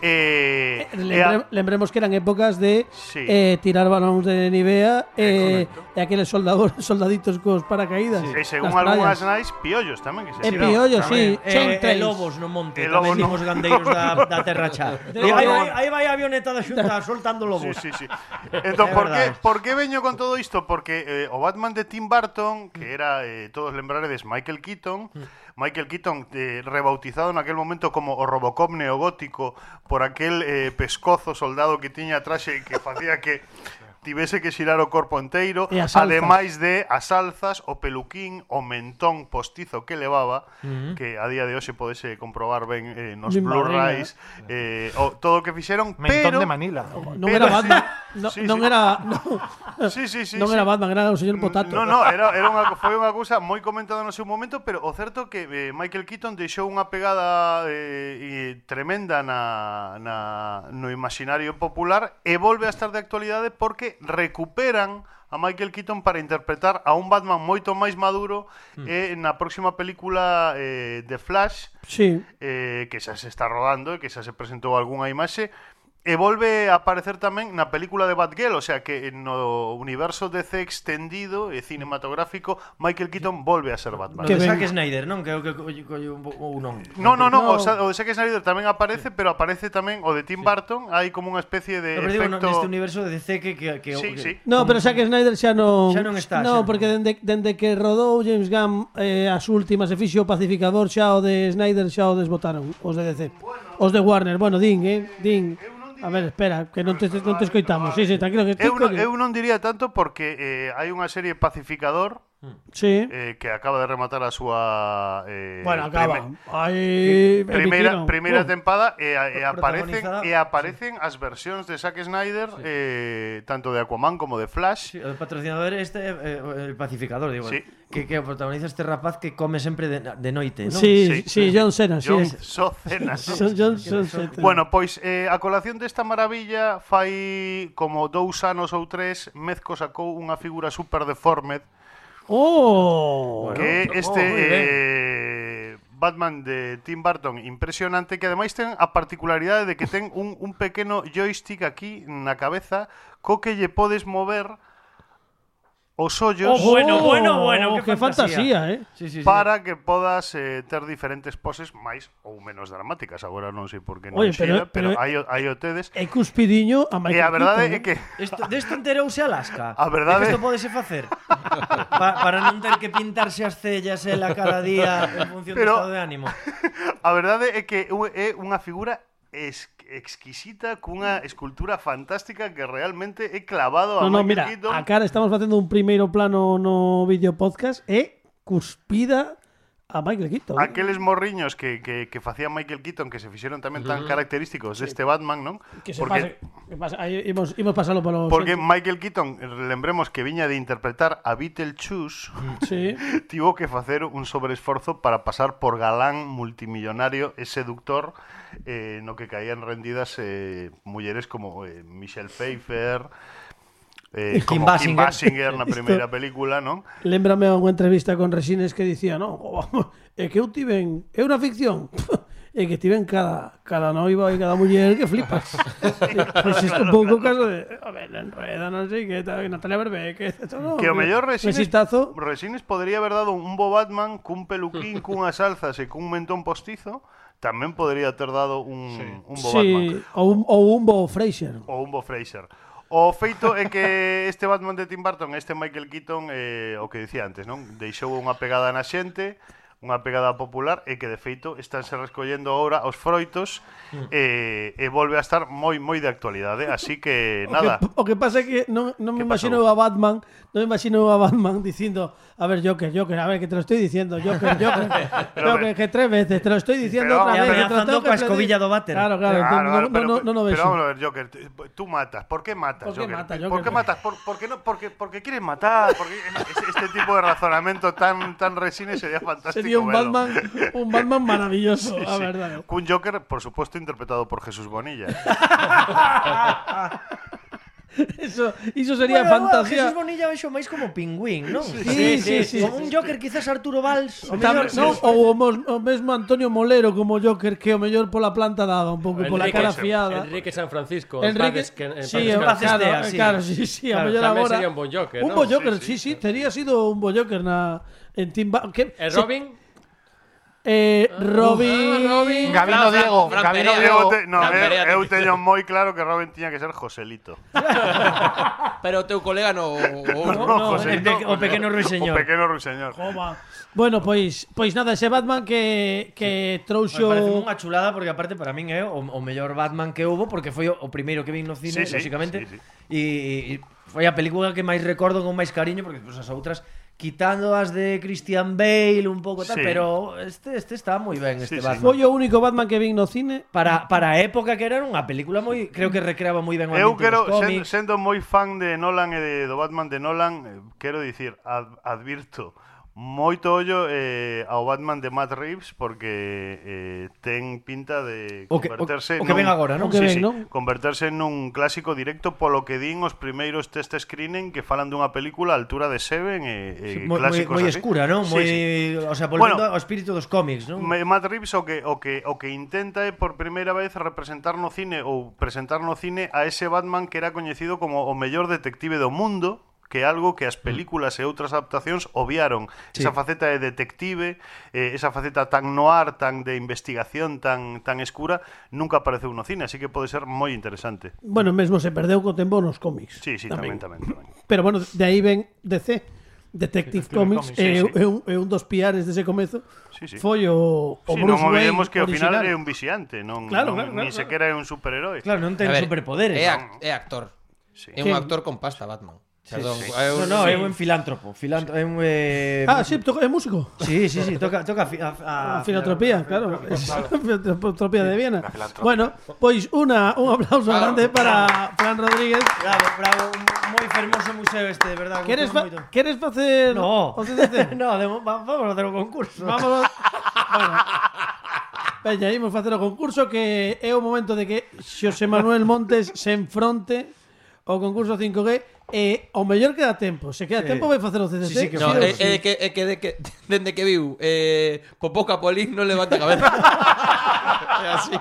Speaker 5: Eh, e a-
Speaker 3: Lembre- lembremos que eran épocas de
Speaker 5: Sí.
Speaker 3: eh, tirar balóns de Nivea eh,
Speaker 5: correcto.
Speaker 3: e aqueles soldados, soldaditos cos paracaídas.
Speaker 5: e según
Speaker 3: nas
Speaker 5: algunhas
Speaker 3: praias.
Speaker 5: nais, piollos tamén que se
Speaker 3: E
Speaker 5: tiraban.
Speaker 3: piollos, sí.
Speaker 4: Tamén. Eh,
Speaker 3: Chemtrails.
Speaker 4: e lobos no monte,
Speaker 5: E
Speaker 4: tamén
Speaker 5: lobo Eh, no-
Speaker 4: dimos gandeiros da, da terra chá.
Speaker 3: De-
Speaker 4: Eh,
Speaker 3: de-
Speaker 4: aí, vai- aí vai a avioneta da xunta soltando
Speaker 5: Sí,
Speaker 4: lobos.
Speaker 5: sí, sí. Entón,
Speaker 4: É
Speaker 5: por que,
Speaker 4: verdade.
Speaker 5: por que veño con todo isto? Porque eh, o Batman de Tim Burton, que era, eh, todos lembraredes, Michael Keaton, Michael Keaton, eh, rebautizado en aquel momento como o Robocop neogótico por aquel eh, pescozo soldado que tiña atrás e que facía que tivese que xirar o corpo enteiro,
Speaker 3: E as alzas.
Speaker 5: ademais de as alzas, o peluquín, o mentón postizo que levaba, que a día de hoxe podese comprobar ben eh, nos
Speaker 3: Min
Speaker 5: Blu-rays, eh, o todo o que fixeron,
Speaker 6: Mentón
Speaker 5: pero...
Speaker 6: de Manila.
Speaker 4: Oh,
Speaker 3: Non era
Speaker 5: Pero sí.
Speaker 3: Batman. No,
Speaker 5: Sí,
Speaker 3: non
Speaker 5: sí.
Speaker 3: era no,
Speaker 5: Sí, sí, sí,
Speaker 3: non
Speaker 5: sí.
Speaker 3: era Batman, era o señor Potato.
Speaker 5: No, no, era, era unha, foi unha cousa moi comentada no seu momento, pero o certo que eh, Michael Keaton deixou unha pegada eh, e tremenda na, na, no imaginario popular e volve a estar de actualidade porque recuperan a Michael Keaton para interpretar a un Batman moito máis maduro eh, na próxima película eh, The Flash,
Speaker 3: Sí.
Speaker 5: eh, que xa se está rodando e que xa se presentou algunha imaxe e volve a aparecer tamén na película de Batgirl, o sea que no universo DC extendido e cinematográfico Michael Keaton volve a ser
Speaker 4: No
Speaker 5: Batman.
Speaker 3: Que
Speaker 4: de
Speaker 3: ven-
Speaker 4: Zack Snyder, non? Que é o que colle colle un bo- ou non.
Speaker 5: No, no,
Speaker 3: No.
Speaker 5: no, o, sa- o de Zack Snyder tamén aparece, pero aparece tamén o de Tim Burton, hai como unha especie de
Speaker 4: No, pero digo, no,
Speaker 5: efecto
Speaker 4: neste universo de DC que... que, que
Speaker 5: Sí,
Speaker 4: que,
Speaker 5: sí.
Speaker 3: No, pero Zack Snyder xa non
Speaker 4: Xa non está, xa
Speaker 3: No,
Speaker 4: non.
Speaker 3: porque dende, dende que rodou James Gunn eh, as últimas e fixo o pacificador xa o de Snyder xa o desbotaron os de DC. Os de Warner, bueno, din, eh, din. A ver, espera, que non te, non te escoitamos. Sí, sí, tranquilo que estou.
Speaker 5: Eu, non, eu non diría tanto porque eh, hai unha serie pacificador
Speaker 3: Sí.
Speaker 5: eh, que acaba de rematar a súa eh,
Speaker 3: Bueno, acaba.
Speaker 5: prime-
Speaker 3: Aí emitieron.
Speaker 5: Primeira, primeira
Speaker 3: Uf.
Speaker 5: tempada e, a- e aparecen
Speaker 4: Protagonizada-
Speaker 5: e aparecen as versións de Zack Snyder eh, tanto de Aquaman como de Flash.
Speaker 4: Sí, o patrocinador este é eh, el pacificador, digo.
Speaker 5: Sí.
Speaker 4: Que, que protagoniza este rapaz que come sempre de, de noite, non?
Speaker 3: Sí, sí, John Cena, sí.
Speaker 5: John
Speaker 3: ese.
Speaker 5: Socena.
Speaker 3: Son John son Cena.
Speaker 5: Bueno, pois eh, a colación desta maravilla fai como dous anos ou tres Mezco sacou unha figura super deformed
Speaker 3: Oh.
Speaker 5: que
Speaker 7: oh,
Speaker 5: este
Speaker 7: moi ben.
Speaker 5: eh, Batman de Tim Burton impresionante que ademais ten a particularidade de que ten un, un pequeno joystick aquí na cabeza co que lle podes mover os ollos
Speaker 4: Oh, bueno, bueno, bueno,
Speaker 3: Oh,
Speaker 4: qué
Speaker 3: qué fantasía,
Speaker 4: fantasía,
Speaker 3: eh.
Speaker 4: Sí, sí, sí.
Speaker 5: para que podas eh, ter diferentes poses máis ou menos dramáticas. Agora non sei por que non
Speaker 3: Oye,
Speaker 5: xera,
Speaker 3: pero- pero-
Speaker 5: pero, hai, o- hai o tedes.
Speaker 3: E cuspidiño a
Speaker 5: E
Speaker 3: Michael
Speaker 5: a verdade
Speaker 3: Keaton,
Speaker 5: é
Speaker 3: ¿eh?
Speaker 5: que
Speaker 4: Isto, desto enterouse Alaska.
Speaker 5: A verdade-
Speaker 4: É que Isto podese facer. Pa, para non ter que pintarse as cellas ela cada día en función
Speaker 5: Pero-
Speaker 4: do estado de ánimo.
Speaker 5: a verdade é que u- é unha figura es exquisita cunha escultura fantástica que realmente é clavado a
Speaker 3: No, no,
Speaker 5: Michael
Speaker 3: mira,
Speaker 5: Keaton.
Speaker 3: a cara estamos facendo un primeiro plano no vídeo podcast e cuspida a Michael Keaton. eh.
Speaker 5: Aqueles morriños que, que, que facía Michael Keaton que se fixeron tamén tan característicos deste Batman, non?
Speaker 3: que se pase, que pasa, aí imos, imos pasalo para os
Speaker 5: porque Michael Keaton, lembremos que viña de interpretar a Beetlejuice
Speaker 3: sí.
Speaker 5: tivo que facer un sobreesforzo para pasar por galán multimillonario e seductor eh, no que caían rendidas eh, mulleres como eh, Michelle Pfeiffer, eh,
Speaker 4: Kim
Speaker 5: como Kim
Speaker 4: Basinger.
Speaker 5: Basinger na primeira
Speaker 3: Isto-
Speaker 5: película, non?
Speaker 3: Lembrame a unha entrevista con Resines que dicía, "No, é que eu tiven, é unha ficción." É que tiven cada cada noiva e cada muller que flipas. pois isto un pouco caso de, a ver, enreda, non sei que, tal, Natalia Berbeque, esto, no,
Speaker 5: Que o mellor
Speaker 3: Oh,
Speaker 5: Resines,
Speaker 3: Resistazo.
Speaker 5: Resines podría haber dado un bo Batman cun peluquín, cunhas alzas e cun mentón postizo, tamén podría ter dado un, un bo Batman.
Speaker 3: Sí, ou un, ou un Bo Fraser.
Speaker 5: o un Bo Fraser. O feito é que este Batman de Tim Burton, este Michael Keaton, eh, o que dicía antes, non? Deixou unha pegada na xente, unha pegada popular e que de feito estánse rescollendo agora os froitos
Speaker 3: Mm.
Speaker 5: eh, e volve a estar moi moi de actualidade, así que nada.
Speaker 3: O que, o que pasa é que non, non me
Speaker 5: Que
Speaker 3: imagino a Batman, non me imagino a Batman dicindo, a ver, Joker, Joker, a ver, que te lo estoy diciendo, Joker, Joker,
Speaker 5: Pero,
Speaker 3: Joker, que tres veces, te lo estoy diciendo
Speaker 5: Pero,
Speaker 3: otra
Speaker 5: hombre,
Speaker 3: vez. que te lo
Speaker 4: amenazando
Speaker 3: tengo que
Speaker 4: coa escobilla
Speaker 3: pedir.
Speaker 4: do váter.
Speaker 3: Claro, claro,
Speaker 5: Claro,
Speaker 3: no,
Speaker 5: claro,
Speaker 3: no,
Speaker 5: Eh, ah, pero-
Speaker 3: no, no, no
Speaker 5: pero
Speaker 3: ves.
Speaker 5: vamos a ver, Joker, tú- tú matas, ¿por qué matas,
Speaker 3: ¿Por qué
Speaker 5: Joker?
Speaker 3: mata,
Speaker 5: ¿Por
Speaker 3: Joker?
Speaker 5: qué matas? ¿Por, por qué no? Porque, porque quieres matar, porque es- este tipo de razonamiento tan, tan resine sería fantástico.
Speaker 3: Sería un
Speaker 5: verlo.
Speaker 3: Batman, un Batman maravilloso, a
Speaker 5: Sí.
Speaker 3: verdad.
Speaker 5: Un Joker, por supuesto, interpretado por Jesús Bonilla.
Speaker 3: Eso, eso sería fantasía.
Speaker 4: Jesús Bonilla vexo máis como pingüín, non? Sí,
Speaker 3: sí, sí, sí,
Speaker 4: Como un Joker, quizás Arturo Valls. O
Speaker 3: Tam-
Speaker 4: mellor,
Speaker 3: non, ou o, mos- o mesmo Antonio Molero como Joker que o mellor pola planta daba un pouco pola cara fiada
Speaker 7: Enrique San Francisco. en
Speaker 3: Enrique,
Speaker 7: paz desque- en paz
Speaker 3: sí,
Speaker 7: descanse.
Speaker 4: paz
Speaker 3: claro,
Speaker 4: estea,
Speaker 3: eh,
Speaker 4: sí.
Speaker 3: claro, sí, sí, a
Speaker 7: Claro,
Speaker 3: mellor
Speaker 7: tamén
Speaker 3: agora.
Speaker 7: sería un bon Joker,
Speaker 3: Un
Speaker 7: non?
Speaker 3: bo Joker, sí, sí, tería sido un bo Joker na en Tim Ba- que
Speaker 7: E
Speaker 3: se-
Speaker 7: Robin,
Speaker 3: eh, Robin.
Speaker 7: Ah, Robin.
Speaker 6: Gabino
Speaker 7: Fran- Fran-
Speaker 6: Diego,
Speaker 7: Fran
Speaker 6: Gabino
Speaker 7: Perea.
Speaker 6: Diego.
Speaker 5: Eu te, no,
Speaker 7: Fran
Speaker 5: eu,
Speaker 7: Perea,
Speaker 5: eu
Speaker 7: tío.
Speaker 5: teño moi claro que Robin tiña que ser Joselito.
Speaker 2: Pero teu colega no... o-
Speaker 3: No, no,
Speaker 5: No,
Speaker 4: el
Speaker 5: Joselito,
Speaker 4: pe- o pequeno ruiseñor.
Speaker 5: O pequeno ruiseñor.
Speaker 3: Bueno, pois, pois nada, ese Batman que, que
Speaker 4: Yo... Parece
Speaker 3: trouxo...
Speaker 4: unha chulada porque aparte para min é o, o mellor Batman que houbo porque foi o, o primeiro que vin no cine,
Speaker 5: Sí, sí,
Speaker 4: lógicamente.
Speaker 5: sí, sí.
Speaker 4: E e foi a película que máis recordo con máis cariño porque pues, as outras quitando as de Christian Bale un pouco tal,
Speaker 5: Sí.
Speaker 4: pero este este está moi ben este
Speaker 5: Sí, sí.
Speaker 4: Batman.
Speaker 3: Foi o único Batman que vin no cine.
Speaker 4: Para para a época que era era unha película moi, creo que recreaba moi ben o
Speaker 5: Eu
Speaker 4: ambiente
Speaker 5: quero,
Speaker 4: dos
Speaker 5: sen,
Speaker 4: cómics.
Speaker 5: sendo moi fan de Nolan e de, do Batman de Nolan, eh, quero dicir, ad, advirto, moito ollo eh, ao Batman de Matt Reeves porque eh, ten pinta de
Speaker 4: O que- o-
Speaker 5: converterse
Speaker 4: o que ven agora,
Speaker 3: O
Speaker 4: non?
Speaker 3: que
Speaker 5: sí,
Speaker 3: ven,
Speaker 5: sí,
Speaker 3: non?
Speaker 5: converterse nun clásico directo polo que din os primeiros test screening que falan dunha película a altura de Seven
Speaker 4: Sí,
Speaker 5: e, e
Speaker 4: moi, moi,
Speaker 5: clásicos
Speaker 4: moi
Speaker 5: así.
Speaker 4: escura, non?
Speaker 5: Sí,
Speaker 4: Moi,
Speaker 5: sí.
Speaker 4: o sea, volvendo ao
Speaker 5: Bueno,
Speaker 4: espírito dos cómics, non?
Speaker 5: Me- Matt Reeves o que, o que o que intenta é por primeira vez representar no cine ou presentar no cine a ese Batman que era coñecido como o mellor detective do mundo, que é algo que as
Speaker 3: Mm.
Speaker 5: películas e outras adaptacións obviaron.
Speaker 4: Sí.
Speaker 5: Esa faceta de detective, eh, esa faceta tan noir, tan de investigación, tan tan escura, nunca apareceu no cine, así que pode ser moi interesante.
Speaker 3: Bueno, mesmo se perdeu co tempo nos cómics.
Speaker 5: Sí, sí, tamén, tamén, tamén.
Speaker 3: Pero bueno, de aí ven DC, Detective Comics,
Speaker 5: Comics, sí,
Speaker 3: é,
Speaker 5: sí.
Speaker 3: é un, é un dos piares dese comezo.
Speaker 5: Sí, sí.
Speaker 3: Foi o, o
Speaker 5: Si, non
Speaker 3: Bruce Wayne
Speaker 5: olvidemos que ao final
Speaker 3: original.
Speaker 5: é un vixiante, non,
Speaker 3: Claro, claro,
Speaker 5: non
Speaker 3: claro,
Speaker 5: ni
Speaker 3: claro.
Speaker 5: sequera é un superheroe.
Speaker 4: Claro, non ten
Speaker 2: A ver,
Speaker 4: superpoderes.
Speaker 2: É, ac- é actor.
Speaker 5: Sí.
Speaker 2: É un
Speaker 3: Que-
Speaker 2: actor con pasta, Batman. Perdón.
Speaker 5: sí.
Speaker 2: é un-
Speaker 4: No, no, é un filántropo, filántropo, é un eh,
Speaker 3: Ah, sí, toca, é músico.
Speaker 4: Sí, sí, sí, toca, toca fi- a, a,
Speaker 3: Ah, filantropía, claro. Filantropía de Viena.
Speaker 8: La filantropía.
Speaker 3: Bueno, pois una, un aplauso
Speaker 2: Bravo,
Speaker 3: grande para Fran Rodríguez.
Speaker 4: Bravo, bravo, un moi fermoso museo este, de verdade.
Speaker 3: Queres, fa
Speaker 4: gustoume moito.
Speaker 3: queres facer
Speaker 4: No,
Speaker 3: o CCC?
Speaker 4: no, de, va- vamos a hacer un
Speaker 3: este?
Speaker 4: concurso.
Speaker 3: Vamos a... bueno. Veña, imos facer o concurso que é o momento de que Xosé Manuel Montes se enfronte ao concurso 5G e o mellor queda tempo. Se queda
Speaker 4: Sí.
Speaker 3: tempo vai facer o CCC.
Speaker 4: Sí, sí, que Eh,
Speaker 2: No,
Speaker 4: Sí,
Speaker 2: é,
Speaker 4: sí.
Speaker 2: é de que, é que, de que dende que viu eh, Popoca Polín non levanta cabeza. é así.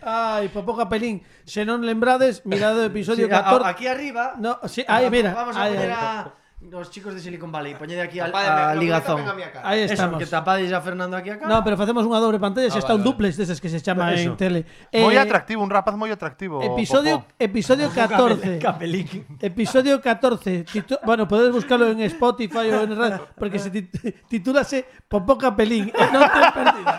Speaker 3: Ai, popoca pelín. Se non lembrades, mirado o
Speaker 4: Sí,
Speaker 3: episodio
Speaker 4: a- a-
Speaker 3: 14.
Speaker 4: aquí arriba.
Speaker 3: No, sí, ahí, mira.
Speaker 4: Vamos a
Speaker 3: ahí,
Speaker 4: poner
Speaker 3: ahí.
Speaker 4: a los chicos de Silicon Valley, poñed aquí al,
Speaker 7: Tapadme,
Speaker 4: a
Speaker 7: lo que
Speaker 4: ligazón.
Speaker 7: venga a mi acá.
Speaker 3: Ahí
Speaker 4: Eso,
Speaker 3: estamos.
Speaker 4: que tapades a Fernando aquí acá.
Speaker 3: No, pero facemos unha dobre pantalla, se
Speaker 2: Ah,
Speaker 3: está un
Speaker 2: vale, vale.
Speaker 3: duplex deses que se chama en
Speaker 4: Eso.
Speaker 3: tele.
Speaker 6: Muy
Speaker 3: Eh,
Speaker 6: atractivo, un rapaz muy atractivo.
Speaker 3: Episodio,
Speaker 6: Popó.
Speaker 3: episodio 14.
Speaker 4: Capelín.
Speaker 3: Episodio 14. titu- bueno, podéis buscarlo en Spotify o en radio, porque se tit- titúlase Popoca Pelín. Eh, Non ten perdida.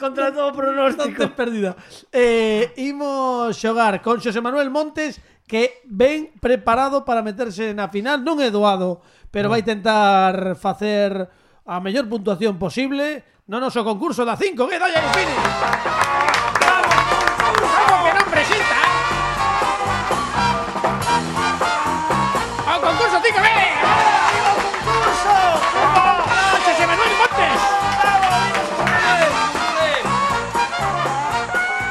Speaker 4: Contra
Speaker 3: Non
Speaker 4: todo pronóstico.
Speaker 3: ten perdida. Eh, imos xogar con Xosé Manuel Montes que ven preparado para meterse na final. Non é doado, pero vai tentar facer a mellor puntuación posible no noso concurso da 5 que dolle Infinity.
Speaker 4: eh!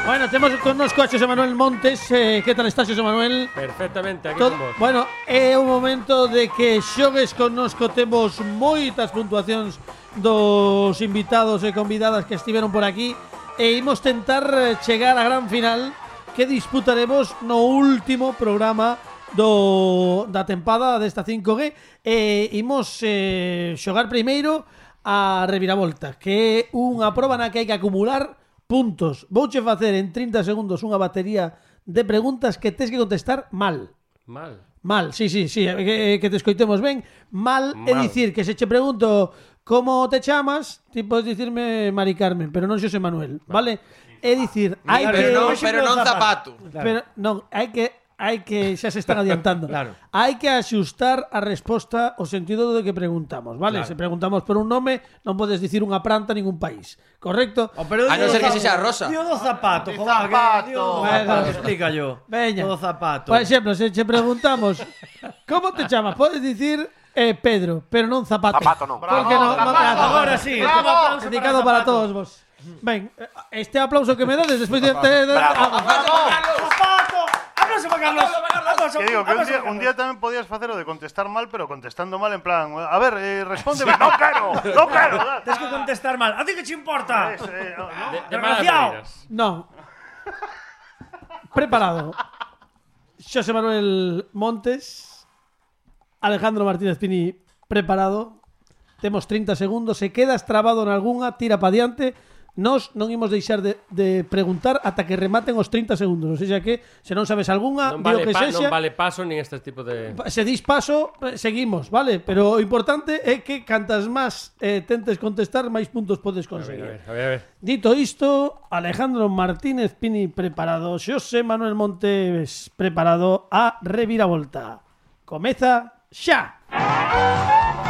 Speaker 3: Bueno, temos connosco a Xosé Manuel Montes. Eh, que tal está Xosé Manuel?
Speaker 7: Perfectamente, aquí
Speaker 3: Todo,
Speaker 7: con vos.
Speaker 3: bueno, é o momento de que xogues connosco Temos moitas puntuacións dos invitados e convidadas que estiveron por aquí E imos tentar eh, chegar á gran final que disputaremos no último programa do, da tempada desta 5G E imos eh, xogar primeiro a reviravolta Que é unha proba na que hai que acumular puntos Vouche facer en 30 segundos unha batería de preguntas que tes que contestar mal
Speaker 7: Mal.
Speaker 3: Mal, sí, sí, sí, que, que te escoitemos ben. Mal, é
Speaker 7: Mal.
Speaker 3: dicir que se che pregunto como te chamas, ti podes dicirme Mari Carmen, pero non Xosé Manuel, vale? É dicir,
Speaker 4: Ah,
Speaker 3: hai
Speaker 2: Pero
Speaker 3: que
Speaker 2: non,
Speaker 4: hoxe
Speaker 2: pero
Speaker 4: non
Speaker 2: non
Speaker 4: zapato.
Speaker 2: zapato.
Speaker 4: Claro.
Speaker 3: pero non, hai que hai que xa se están adiantando.
Speaker 4: Claro.
Speaker 3: Hai que axustar a resposta ao sentido do que preguntamos, vale?
Speaker 4: Claro.
Speaker 3: Se preguntamos por un nome, non podes dicir unha planta ningún país, correcto?
Speaker 4: Oh, pero
Speaker 2: A
Speaker 4: dio
Speaker 2: no
Speaker 4: do
Speaker 2: ser que
Speaker 4: zapato.
Speaker 2: sexa rosa.
Speaker 4: Dio do zapato,
Speaker 6: Di
Speaker 4: joder, que
Speaker 6: zapato.
Speaker 4: dio do
Speaker 3: Bueno. Pues,
Speaker 4: zapato, explica yo.
Speaker 3: Veña.
Speaker 4: Do zapato.
Speaker 3: Por exemplo, se che preguntamos como te chamas, podes dicir eh, Pedro, pero non zapato.
Speaker 8: Zapato non.
Speaker 3: Porque non,
Speaker 6: Bravo,
Speaker 3: non-
Speaker 6: zapato.
Speaker 4: Ahora sí, un
Speaker 6: Bravo.
Speaker 4: aplauso
Speaker 3: Dedicado para,
Speaker 4: Zapato.
Speaker 3: todos vos. Ben, eh, este aplauso que me dades despois de... de- de- ah,
Speaker 4: ¡Zapato! ¡Aplauso para Carlos! ¡Aplauso!
Speaker 5: Que digo, que un
Speaker 4: ¡Aplauso
Speaker 5: día,
Speaker 4: para
Speaker 5: un día tamén podías facer o de contestar mal, pero contestando mal en plan, a ver, eh, respóndeme, no quero, no quero.
Speaker 4: Carlos! Tens que contestar mal. A ti que che importa?
Speaker 5: Es, eh, no, no.
Speaker 7: De malas
Speaker 4: Desgraciado.
Speaker 7: maneras.
Speaker 3: non. Preparado. Xosé Manuel Montes. Alejandro Martínez Pini, preparado. Temos 30 segundos. Se quedas trabado en algunha, tira pa diante. Nos non imos deixar de, de preguntar ata que rematen os 30 segundos. O sea que, se non sabes algunha, di o
Speaker 7: Non vale,
Speaker 3: Ah, que
Speaker 7: pa-
Speaker 3: sexa,
Speaker 7: non vale paso nin este tipo de...
Speaker 3: Pa- se dis paso, eh, seguimos, vale? Pero o importante é que cantas máis eh, tentes contestar, máis puntos podes
Speaker 7: A ver, a ver,
Speaker 3: conseguir.
Speaker 7: a ver, a ver.
Speaker 3: Dito isto, Alejandro Martínez Pini preparado, Xosé Manuel Montes preparado a reviravolta. Comeza xa!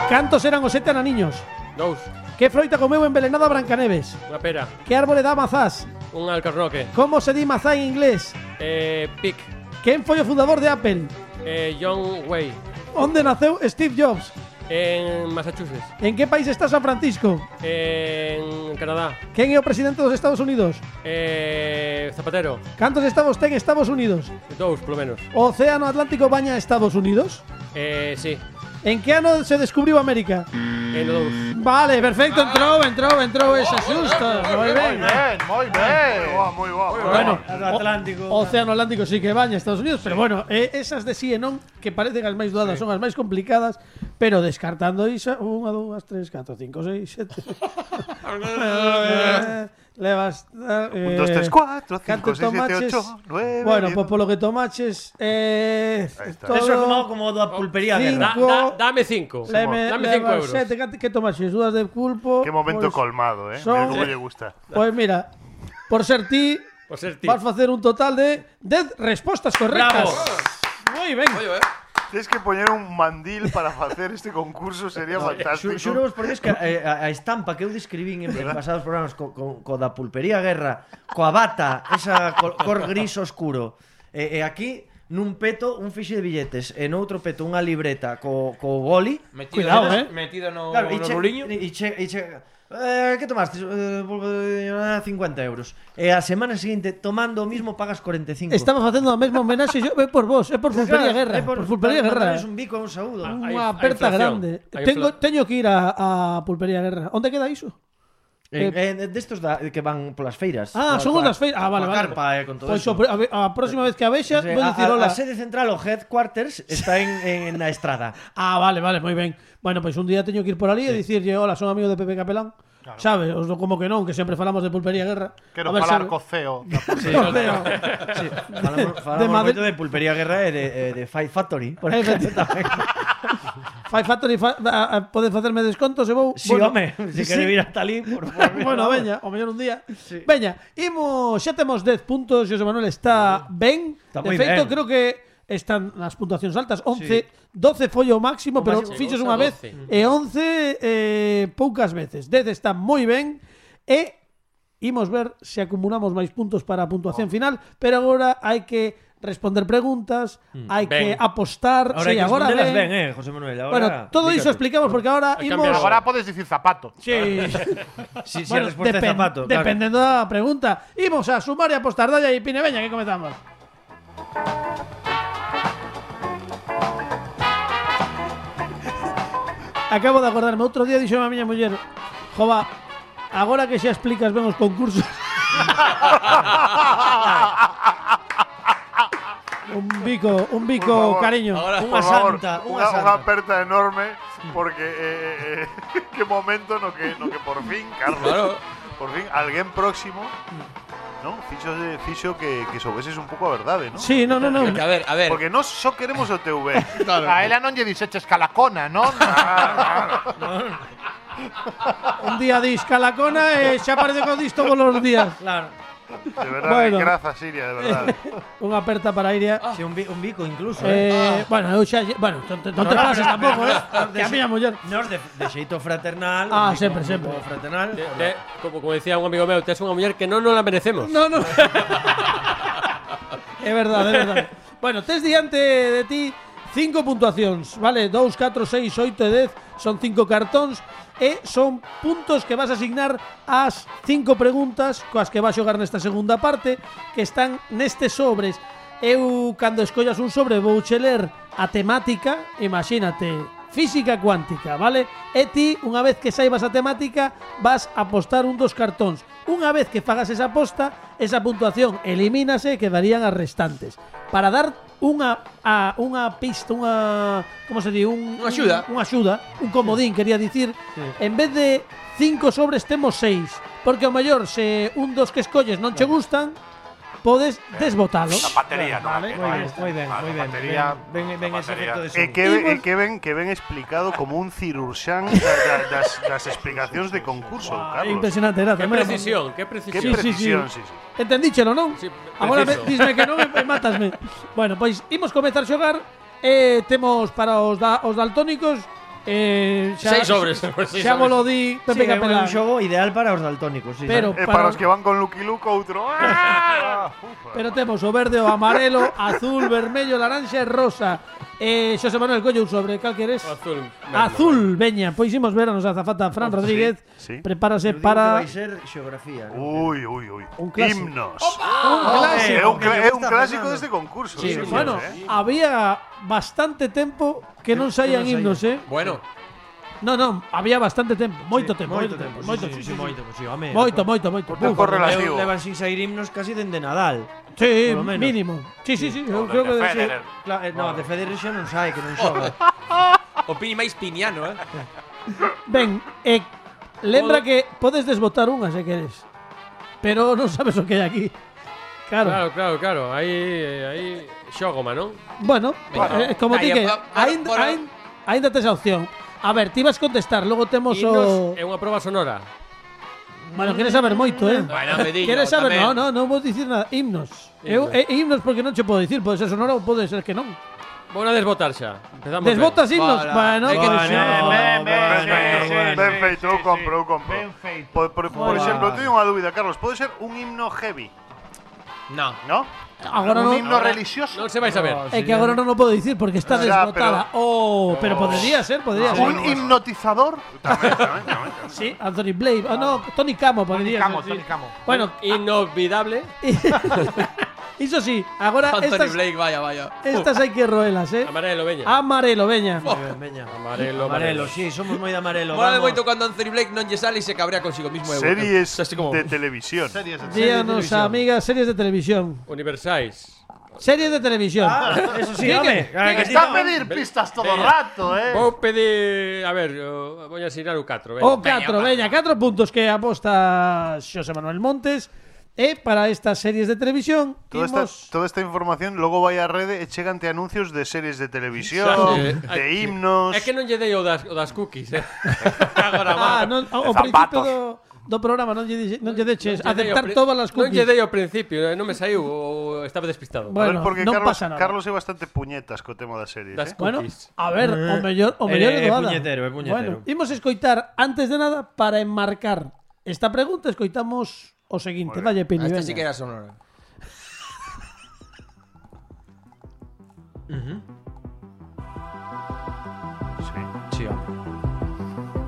Speaker 3: Cantos eran os sete ananiños?
Speaker 7: Dous,
Speaker 3: Que froita comeu envenenada Brancaneves?
Speaker 7: unha pera,
Speaker 3: Que árbore dá mazás?
Speaker 7: un alcarnoque,
Speaker 3: Como se di mazá en inglés?
Speaker 7: eh, pic,
Speaker 3: Quen foi o fundador de Apple?
Speaker 7: eh, John Way,
Speaker 3: Onde naceu Steve Jobs?
Speaker 7: en Massachusetts,
Speaker 3: En que país está San Francisco?
Speaker 7: en Canadá,
Speaker 3: Quen é o presidente dos Estados Unidos?
Speaker 7: eh, Zapatero,
Speaker 3: Cantos estados ten Estados Unidos?
Speaker 7: dous, polo menos.
Speaker 3: O Océano Atlántico baña Estados Unidos?
Speaker 7: Eh, sí,
Speaker 3: En que ano se descubriu América?
Speaker 7: en o dous.
Speaker 3: Vale, perfecto, entrou, entrou, entrou esa xusta. Moi ben.
Speaker 6: Bien, moi ben.
Speaker 5: Boa, moi boa. moi
Speaker 3: Bueno,
Speaker 4: O Atlántico.
Speaker 3: o Océano Atlántico sí que baña Estados Unidos, pero bueno, eh, esas de sí e non que parecen as máis dudadas, son as máis complicadas, pero descartando isa, unha, dúas, tres, catro, cinco, seis, sete. Levas eh,
Speaker 5: Un, dos, tres, cuatro,
Speaker 3: canto
Speaker 5: cinco, seis, siete,
Speaker 3: tomaches.
Speaker 5: ocho, nueve,
Speaker 3: Bueno,
Speaker 5: diez.
Speaker 3: pues por lo que tomaches eh,
Speaker 5: está.
Speaker 3: todo-
Speaker 4: Eso é como, como do a pulpería
Speaker 3: Sí.
Speaker 4: guerra.
Speaker 7: Da, da, dame cinco,
Speaker 3: Le-
Speaker 7: dame
Speaker 3: le-
Speaker 7: cinco
Speaker 3: le-
Speaker 7: euros.
Speaker 3: sete, ¿qué- ¿Qué tomaches? ¿Dudas de culpo?
Speaker 5: Qué momento
Speaker 3: pues,
Speaker 5: colmado, eh.
Speaker 3: son-
Speaker 5: Mira cómo le gusta.
Speaker 3: Pues mira, por ser ti,
Speaker 7: Por ser ti.
Speaker 3: vas a hacer un total de 10 respuestas correctas.
Speaker 7: Bravo.
Speaker 3: Muy bien.
Speaker 2: Oye, eh.
Speaker 5: Tienes que poner un mandil para hacer este concurso, sería
Speaker 3: eh,
Speaker 5: fantástico.
Speaker 4: Xuro vos por Dios que eh, a, a estampa que eu describín en, en pasados programas co, co, co da pulpería guerra, coa bata, esa col, cor gris oscuro. E, e aquí nun peto un fixe de billetes, e noutro peto unha libreta co, co boli.
Speaker 2: Metido,
Speaker 3: Cuidado,
Speaker 2: no,
Speaker 3: eh.
Speaker 2: Metido no,
Speaker 4: Claro, e
Speaker 2: no
Speaker 4: che,
Speaker 2: ruliño.
Speaker 4: e che, e che, eh, que tomaste? Eh, volvo de- ah, 50 euros. E a semana seguinte, tomando o mismo, pagas 45.
Speaker 3: Estamos haciendo la misma homenaje yo, é por vos, es por Fulpería
Speaker 4: Claro,
Speaker 3: Guerra.
Speaker 4: é
Speaker 3: por, Fulpería
Speaker 4: para
Speaker 3: Guerra. eh.
Speaker 4: mandarles un bico e un saúdo.
Speaker 7: Ah, Hay-
Speaker 3: Una
Speaker 7: hay
Speaker 3: aperta
Speaker 7: inflación,
Speaker 3: grande.
Speaker 7: hay
Speaker 3: Tengo,
Speaker 7: inflación.
Speaker 3: teño que ir a, a Pulpería Guerra. ¿Dónde queda eso?
Speaker 4: Eh, eh, destos da, que van polas feiras.
Speaker 3: Ah,
Speaker 4: Coa-
Speaker 3: son
Speaker 4: coa-
Speaker 3: unas feiras. Ah,
Speaker 4: coa
Speaker 3: vale, vale.
Speaker 4: carpa e con todo
Speaker 3: Pois
Speaker 4: eso.
Speaker 3: o pre- a, ve- a próxima vez que a vexa,
Speaker 4: O sea,
Speaker 3: vou
Speaker 4: a,
Speaker 3: dicir
Speaker 4: a-
Speaker 3: hola.
Speaker 4: a sede central o headquarters está en, en na estrada.
Speaker 3: Ah, vale, vale, moi ben. Bueno, pois un día teño que ir por ali e dicirlle, "Hola, son amigo de Pepe Capelán." Sabe, os do como que non, que sempre falamos de pulpería e guerra. A
Speaker 6: Quero
Speaker 3: ver,
Speaker 6: falar
Speaker 3: sabe.
Speaker 6: co CEO.
Speaker 3: Correo.
Speaker 4: Sí, falamos, falamos
Speaker 3: De
Speaker 4: de
Speaker 3: Madrid-
Speaker 4: moito de Pulpería Guerra e de, e de Fight Factory. Por exemplo, tamén.
Speaker 3: Fai Factory fa, a, a, pode facerme descontos e vou.
Speaker 4: Si, sí, home, se quere vir ata ali, por favor.
Speaker 3: bueno,
Speaker 4: vamos.
Speaker 3: veña, o mellor un día. Veña, imos, xa temos 10 puntos, José Manuel está ben.
Speaker 4: Está
Speaker 3: de
Speaker 4: moi
Speaker 3: feito,
Speaker 4: ben.
Speaker 3: creo que están nas puntuacións altas, 11, 12 foi o máximo,
Speaker 7: O
Speaker 3: pero
Speaker 7: máximo,
Speaker 3: fiches
Speaker 7: chegou
Speaker 3: unha
Speaker 7: a
Speaker 3: vez
Speaker 7: 12.
Speaker 3: e 11 eh, poucas veces. 10 está moi ben e imos ver se acumulamos máis puntos para a puntuación final, pero agora hai que responder preguntas, hai que
Speaker 7: ben.
Speaker 3: apostar,
Speaker 4: Ahora
Speaker 3: sí,
Speaker 4: hai que
Speaker 3: agora
Speaker 4: respondelas
Speaker 3: ben.
Speaker 4: ben, eh, José Manuel. Ahora,
Speaker 3: Bueno, todo
Speaker 4: Fíjate.
Speaker 3: iso explicamos porque ahora
Speaker 7: Hai
Speaker 3: imos
Speaker 7: cambiado
Speaker 6: Agora podes dicir zapato.
Speaker 3: Sí.
Speaker 4: Si, si
Speaker 3: Bueno,
Speaker 4: a resposta é
Speaker 3: depen-
Speaker 4: zapato. claro.
Speaker 3: Dependiendo de la pregunta. Imos a sumar y apostar. Dalla y Pine, veña, que comenzamos. Acabo de acordarme. Otro día dixome a miña muller Jova, agora que xa explicas ben os concursos...
Speaker 5: Ah,
Speaker 3: un bico, un bico,
Speaker 5: Por favor,
Speaker 3: cariño.
Speaker 2: ahora-
Speaker 4: Unha
Speaker 5: Por favor,
Speaker 4: santa, unha
Speaker 5: una,
Speaker 4: santa.
Speaker 5: una aperta enorme, porque eh, eh, eh, qué momento no que, no que por fin, Carlos,
Speaker 2: Claro.
Speaker 5: por fin alguien próximo, ¿no? Ficho, de, ficho que, que soubeses un pouco a verdade, ¿no?
Speaker 3: Sí, no, no, no.
Speaker 2: Porque, a ver, a ver.
Speaker 5: Porque no só queremos o TV.
Speaker 6: A ela non lle dixeches calacona, non?
Speaker 5: Ah,
Speaker 3: Un día dis calacona e xa parece que o dis todos os días.
Speaker 4: Claro.
Speaker 5: De verdad,
Speaker 3: Bueno.
Speaker 5: grazas, Siria, de verdad.
Speaker 3: Unha aperta para Iria.
Speaker 4: Si, un, bi- un bico incluso. Eh,
Speaker 3: Eh, bueno, eu xa, bueno, non te, non te
Speaker 4: No, no,
Speaker 3: pases
Speaker 4: pero-
Speaker 3: tampouco, eh.
Speaker 4: pero-
Speaker 3: Que a miña muller.
Speaker 4: Nos de, de xeito fraternal.
Speaker 3: Ah,
Speaker 4: un bico-
Speaker 3: sempre,
Speaker 4: un
Speaker 3: sempre.
Speaker 4: bico Fraternal.
Speaker 7: De- de- Eh, como, como decía un amigo mío, tes unha muller que non nos la merecemos.
Speaker 3: No, no. é verdade, é verdade. Bueno, tes diante de ti cinco puntuacións, vale? 2, 4, 6, 8 e 10 son cinco cartóns e son puntos que vas a asignar ás cinco preguntas coas que vas xogar nesta segunda parte que están nestes sobres. Eu, cando escollas un sobre, vou che ler a temática, imagínate, física cuántica, vale? E ti, unha vez que saibas a temática, vas a apostar un dos cartóns. Unha vez que fagas esa aposta, esa puntuación elimínase e quedarían as restantes. Para dar unha a, unha pista, unha como se di, un
Speaker 2: Unha axuda.
Speaker 3: un- unha axuda, un comodín, quería dicir, en vez de cinco sobres temos seis, porque ao mellor se un dos que escolles non che gustan, podes
Speaker 2: Eh,
Speaker 3: desbotalo.
Speaker 8: La batería, ¿no?
Speaker 4: Vale,
Speaker 8: Aquel,
Speaker 4: moi ben,
Speaker 8: ¿no?
Speaker 4: moi ben,
Speaker 8: Vale,
Speaker 4: moi
Speaker 8: la
Speaker 4: ben.
Speaker 8: batería,
Speaker 4: Ben, ben, ben
Speaker 8: la
Speaker 4: ese
Speaker 8: batería.
Speaker 4: efecto de
Speaker 5: E
Speaker 4: sonido.
Speaker 5: que, ben- e que ben, que ben explicado como un cirurxán da, da, das, das explicacións de concurso, Carlos.
Speaker 3: Impresionante, era
Speaker 7: Qué
Speaker 3: tamén.
Speaker 7: precisión, qué
Speaker 5: Que
Speaker 7: precisión.
Speaker 3: sí, sí, sí.
Speaker 5: precisión, sí, sí.
Speaker 3: Entendíchelo, non?
Speaker 7: Sí,
Speaker 3: Agora me,
Speaker 7: preciso.
Speaker 3: disme que non e e matasme. bueno, pois imos comezar a xogar eh, temos para os, da, os daltónicos eh,
Speaker 7: Seis sobres, pois, seis
Speaker 3: xa vos
Speaker 7: sobres.
Speaker 3: lo di
Speaker 4: Sí,
Speaker 3: Pepe
Speaker 4: é un-
Speaker 3: Capelán.
Speaker 4: un xogo ideal para os daltónicos, sí.
Speaker 3: Pero
Speaker 5: E
Speaker 3: para-
Speaker 5: para os que van con Lucky Luke, outro... ¡ah!
Speaker 3: Pero temos o verde, o amarelo, azul, vermello, laranxa e rosa. Eh, Xosé Manuel Collo, un sobre, cal queres?
Speaker 7: Azul.
Speaker 3: Azul, veña. Pois imos ver a nosa azafata Fran Rodríguez.
Speaker 5: sí.
Speaker 3: Prepárase
Speaker 4: Eu digo que
Speaker 3: para
Speaker 4: vai ser xeografía. ¿no?
Speaker 5: Ui, ui, ui.
Speaker 3: Un clásico.
Speaker 5: Himnos.
Speaker 3: un clásico.
Speaker 5: É un, cla-
Speaker 4: que
Speaker 5: é un
Speaker 4: gusta
Speaker 5: clásico
Speaker 4: Fernando.
Speaker 5: deste concurso.
Speaker 3: Sí,
Speaker 5: himnos,
Speaker 3: bueno,
Speaker 5: eh.
Speaker 3: había bastante tempo que non saían
Speaker 4: que
Speaker 3: himnos,
Speaker 4: non
Speaker 3: eh?
Speaker 2: Bueno,
Speaker 3: No, no, había bastante tempo, moito
Speaker 4: Sí,
Speaker 3: tempo, moito tempo, moito,
Speaker 4: sí,
Speaker 3: sí,
Speaker 4: sí,
Speaker 3: sí,
Speaker 4: moito, sí, home.
Speaker 3: moito, moito, moito.
Speaker 5: Por tempo
Speaker 3: Buf,
Speaker 4: Eu
Speaker 5: relativo.
Speaker 4: Levan sin sair himnos casi dende Nadal.
Speaker 3: Sí,
Speaker 4: por lo menos.
Speaker 3: mínimo. Sí, sí, sí,
Speaker 8: Joder,
Speaker 3: eu creo que
Speaker 8: de
Speaker 3: sí.
Speaker 8: Federer.
Speaker 4: Cla eh, no, de Federer xa non sai, que non xoga.
Speaker 2: o Pini máis piniano, eh?
Speaker 3: Ben, eh, lembra
Speaker 7: Todo-
Speaker 3: que podes desbotar unha se queres. Pero non sabes o que hai aquí. Claro.
Speaker 7: Claro, claro, claro. Ahí, eh, ahí. Xógoma, ¿no?
Speaker 3: Bueno,
Speaker 2: Bueno,
Speaker 3: eh, como ti
Speaker 2: aí,
Speaker 3: que
Speaker 2: a- a-
Speaker 3: aínda
Speaker 2: bueno.
Speaker 3: aínda- aínda tes a opción. A ver, ti vas contestar, logo temos o
Speaker 7: Himnos é
Speaker 2: eh,
Speaker 7: unha proba sonora.
Speaker 3: Bueno, queres saber moito, eh?
Speaker 2: Bueno, me dillo,
Speaker 3: queres saber? No,
Speaker 2: tamén.
Speaker 3: no, non vou dicir nada. Himnos. Eu, eh, himnos porque non che podo dicir, pode ser sonoro ou pode ser que non.
Speaker 7: Vou a desbotar xa. Empezamos
Speaker 3: Desbotas himnos.
Speaker 2: Vale.
Speaker 3: Bueno,
Speaker 2: Hai que
Speaker 3: pues,
Speaker 4: dicir-
Speaker 3: no.
Speaker 4: Ben, ben,
Speaker 5: ben,
Speaker 4: ben,
Speaker 5: ben feito, eu compro, eu compro.
Speaker 6: Ben feito.
Speaker 5: Por, por,
Speaker 4: Joder.
Speaker 5: por exemplo, eu teño unha dúbida, Carlos. Pode ser un himno heavy,
Speaker 2: No.
Speaker 5: no?
Speaker 3: agora
Speaker 6: un
Speaker 3: non.
Speaker 6: himno religioso.
Speaker 7: Non se vais a ver.
Speaker 3: É que agora non o podo dicir porque está
Speaker 5: Ya,
Speaker 3: desbotada. Oh, pero podría ser, podría ser.
Speaker 6: Ah, un hipnotizador.
Speaker 5: Tamén, tamén, tamén. tamén.
Speaker 3: Sí, Anthony Blade. Ah, no, Tony Camo podría
Speaker 6: Camo,
Speaker 3: ser. sí.
Speaker 6: Tony Camo.
Speaker 3: Bueno, ah-
Speaker 7: Inolvidable.
Speaker 3: eso sí, agora
Speaker 2: Anthony
Speaker 3: Ah, estas,
Speaker 2: Blake, vaya, vaya.
Speaker 3: estas hai que roelas, eh.
Speaker 7: Amarelo, veña.
Speaker 3: Amarelo, veña.
Speaker 4: Ben, veña.
Speaker 7: Amarelo,
Speaker 4: Amarelo,
Speaker 7: amarelo.
Speaker 4: sí, somos moi de amarelo.
Speaker 2: Mola
Speaker 4: vamos.
Speaker 2: moito cando Anthony Blake non lle sale e se cabrea consigo mismo. eh,
Speaker 5: Series
Speaker 2: así como-
Speaker 5: de televisión.
Speaker 6: Series de
Speaker 3: Díganos,
Speaker 4: televisión.
Speaker 3: amigas, series de televisión.
Speaker 7: Universais.
Speaker 3: Series de televisión.
Speaker 4: Ah, eso sí,
Speaker 3: Diga-
Speaker 4: home. ah, que
Speaker 6: Está a
Speaker 4: sí,
Speaker 6: pedir pistas todo el rato, eh.
Speaker 7: Vou pedir, a ver, o- vou a asinar o 4, veña.
Speaker 3: O 4, veña, 4 puntos que aposta Xosé Manuel Montes E para estas series de televisión
Speaker 5: Toda esta,
Speaker 3: imos-
Speaker 5: toda esta información logo vai á rede e chegante anuncios de series de televisión,
Speaker 7: Sí.
Speaker 5: de himnos...
Speaker 7: É que non lle dei o das, o das cookies, eh. Agora má.
Speaker 3: Ah, non, o, o
Speaker 8: De
Speaker 3: principio
Speaker 8: zapatos.
Speaker 3: do, do programa non lle, dixe- non lle deches
Speaker 7: Non lle dei o
Speaker 3: aceptar
Speaker 7: pri-
Speaker 3: todas as
Speaker 7: Non lle
Speaker 3: cookies
Speaker 7: dei ao principio, eh, non me saiu, o- estaba despistado.
Speaker 5: A ver,
Speaker 3: bueno,
Speaker 5: porque
Speaker 3: non
Speaker 5: Carlos,
Speaker 3: pasa nada.
Speaker 5: Carlos é bastante puñetas co tema das series,
Speaker 7: Das
Speaker 5: eh?
Speaker 3: Bueno,
Speaker 7: cookies.
Speaker 3: a ver, o mellor, o
Speaker 4: Eh,
Speaker 3: mellor é
Speaker 4: eh,
Speaker 3: doada.
Speaker 4: puñetero, é puñetero.
Speaker 3: Bueno, imos escoitar antes de nada para enmarcar esta pregunta, escoitamos o seguinte, dalle
Speaker 2: Ah,
Speaker 3: Pini, veña.
Speaker 2: Esta sí que era sonora. Sí, hombre.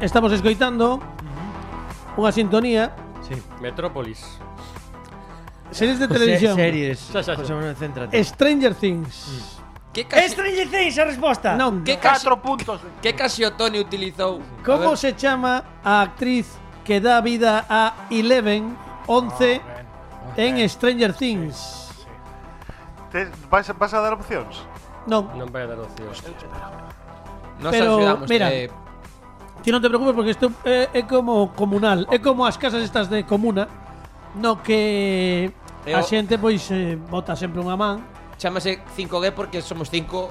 Speaker 3: Estamos escoitando unha sintonía
Speaker 4: Sí.
Speaker 7: Metrópolis.
Speaker 3: series de
Speaker 4: Se-
Speaker 3: televisión.
Speaker 4: Series.
Speaker 7: Xa, xa, xa.
Speaker 4: José Manuel, céntrate.
Speaker 3: Stranger Things.
Speaker 2: Que casi...
Speaker 4: Stranger Things, a resposta.
Speaker 3: Non,
Speaker 2: Que casi...
Speaker 6: Cuatro puntos.
Speaker 2: Que casi o Tony utilizou? A
Speaker 3: ¿Cómo
Speaker 2: ver.
Speaker 3: se llama a actriz que da vida a Eleven, 11
Speaker 2: Ah,
Speaker 3: en Stranger Things?
Speaker 5: Te- Vas, vas a dar opcións?
Speaker 3: No,
Speaker 7: Non vai a dar opción.
Speaker 2: Nos
Speaker 3: Pero,
Speaker 2: ayudamos.
Speaker 3: mira.
Speaker 2: eh,
Speaker 3: si no te preocupes porque esto eh, es como comunal, es como las casas estas de comuna, no que
Speaker 2: Eu-
Speaker 3: a xente pois eh, bota sempre unha man.
Speaker 2: chámase 5G porque somos 5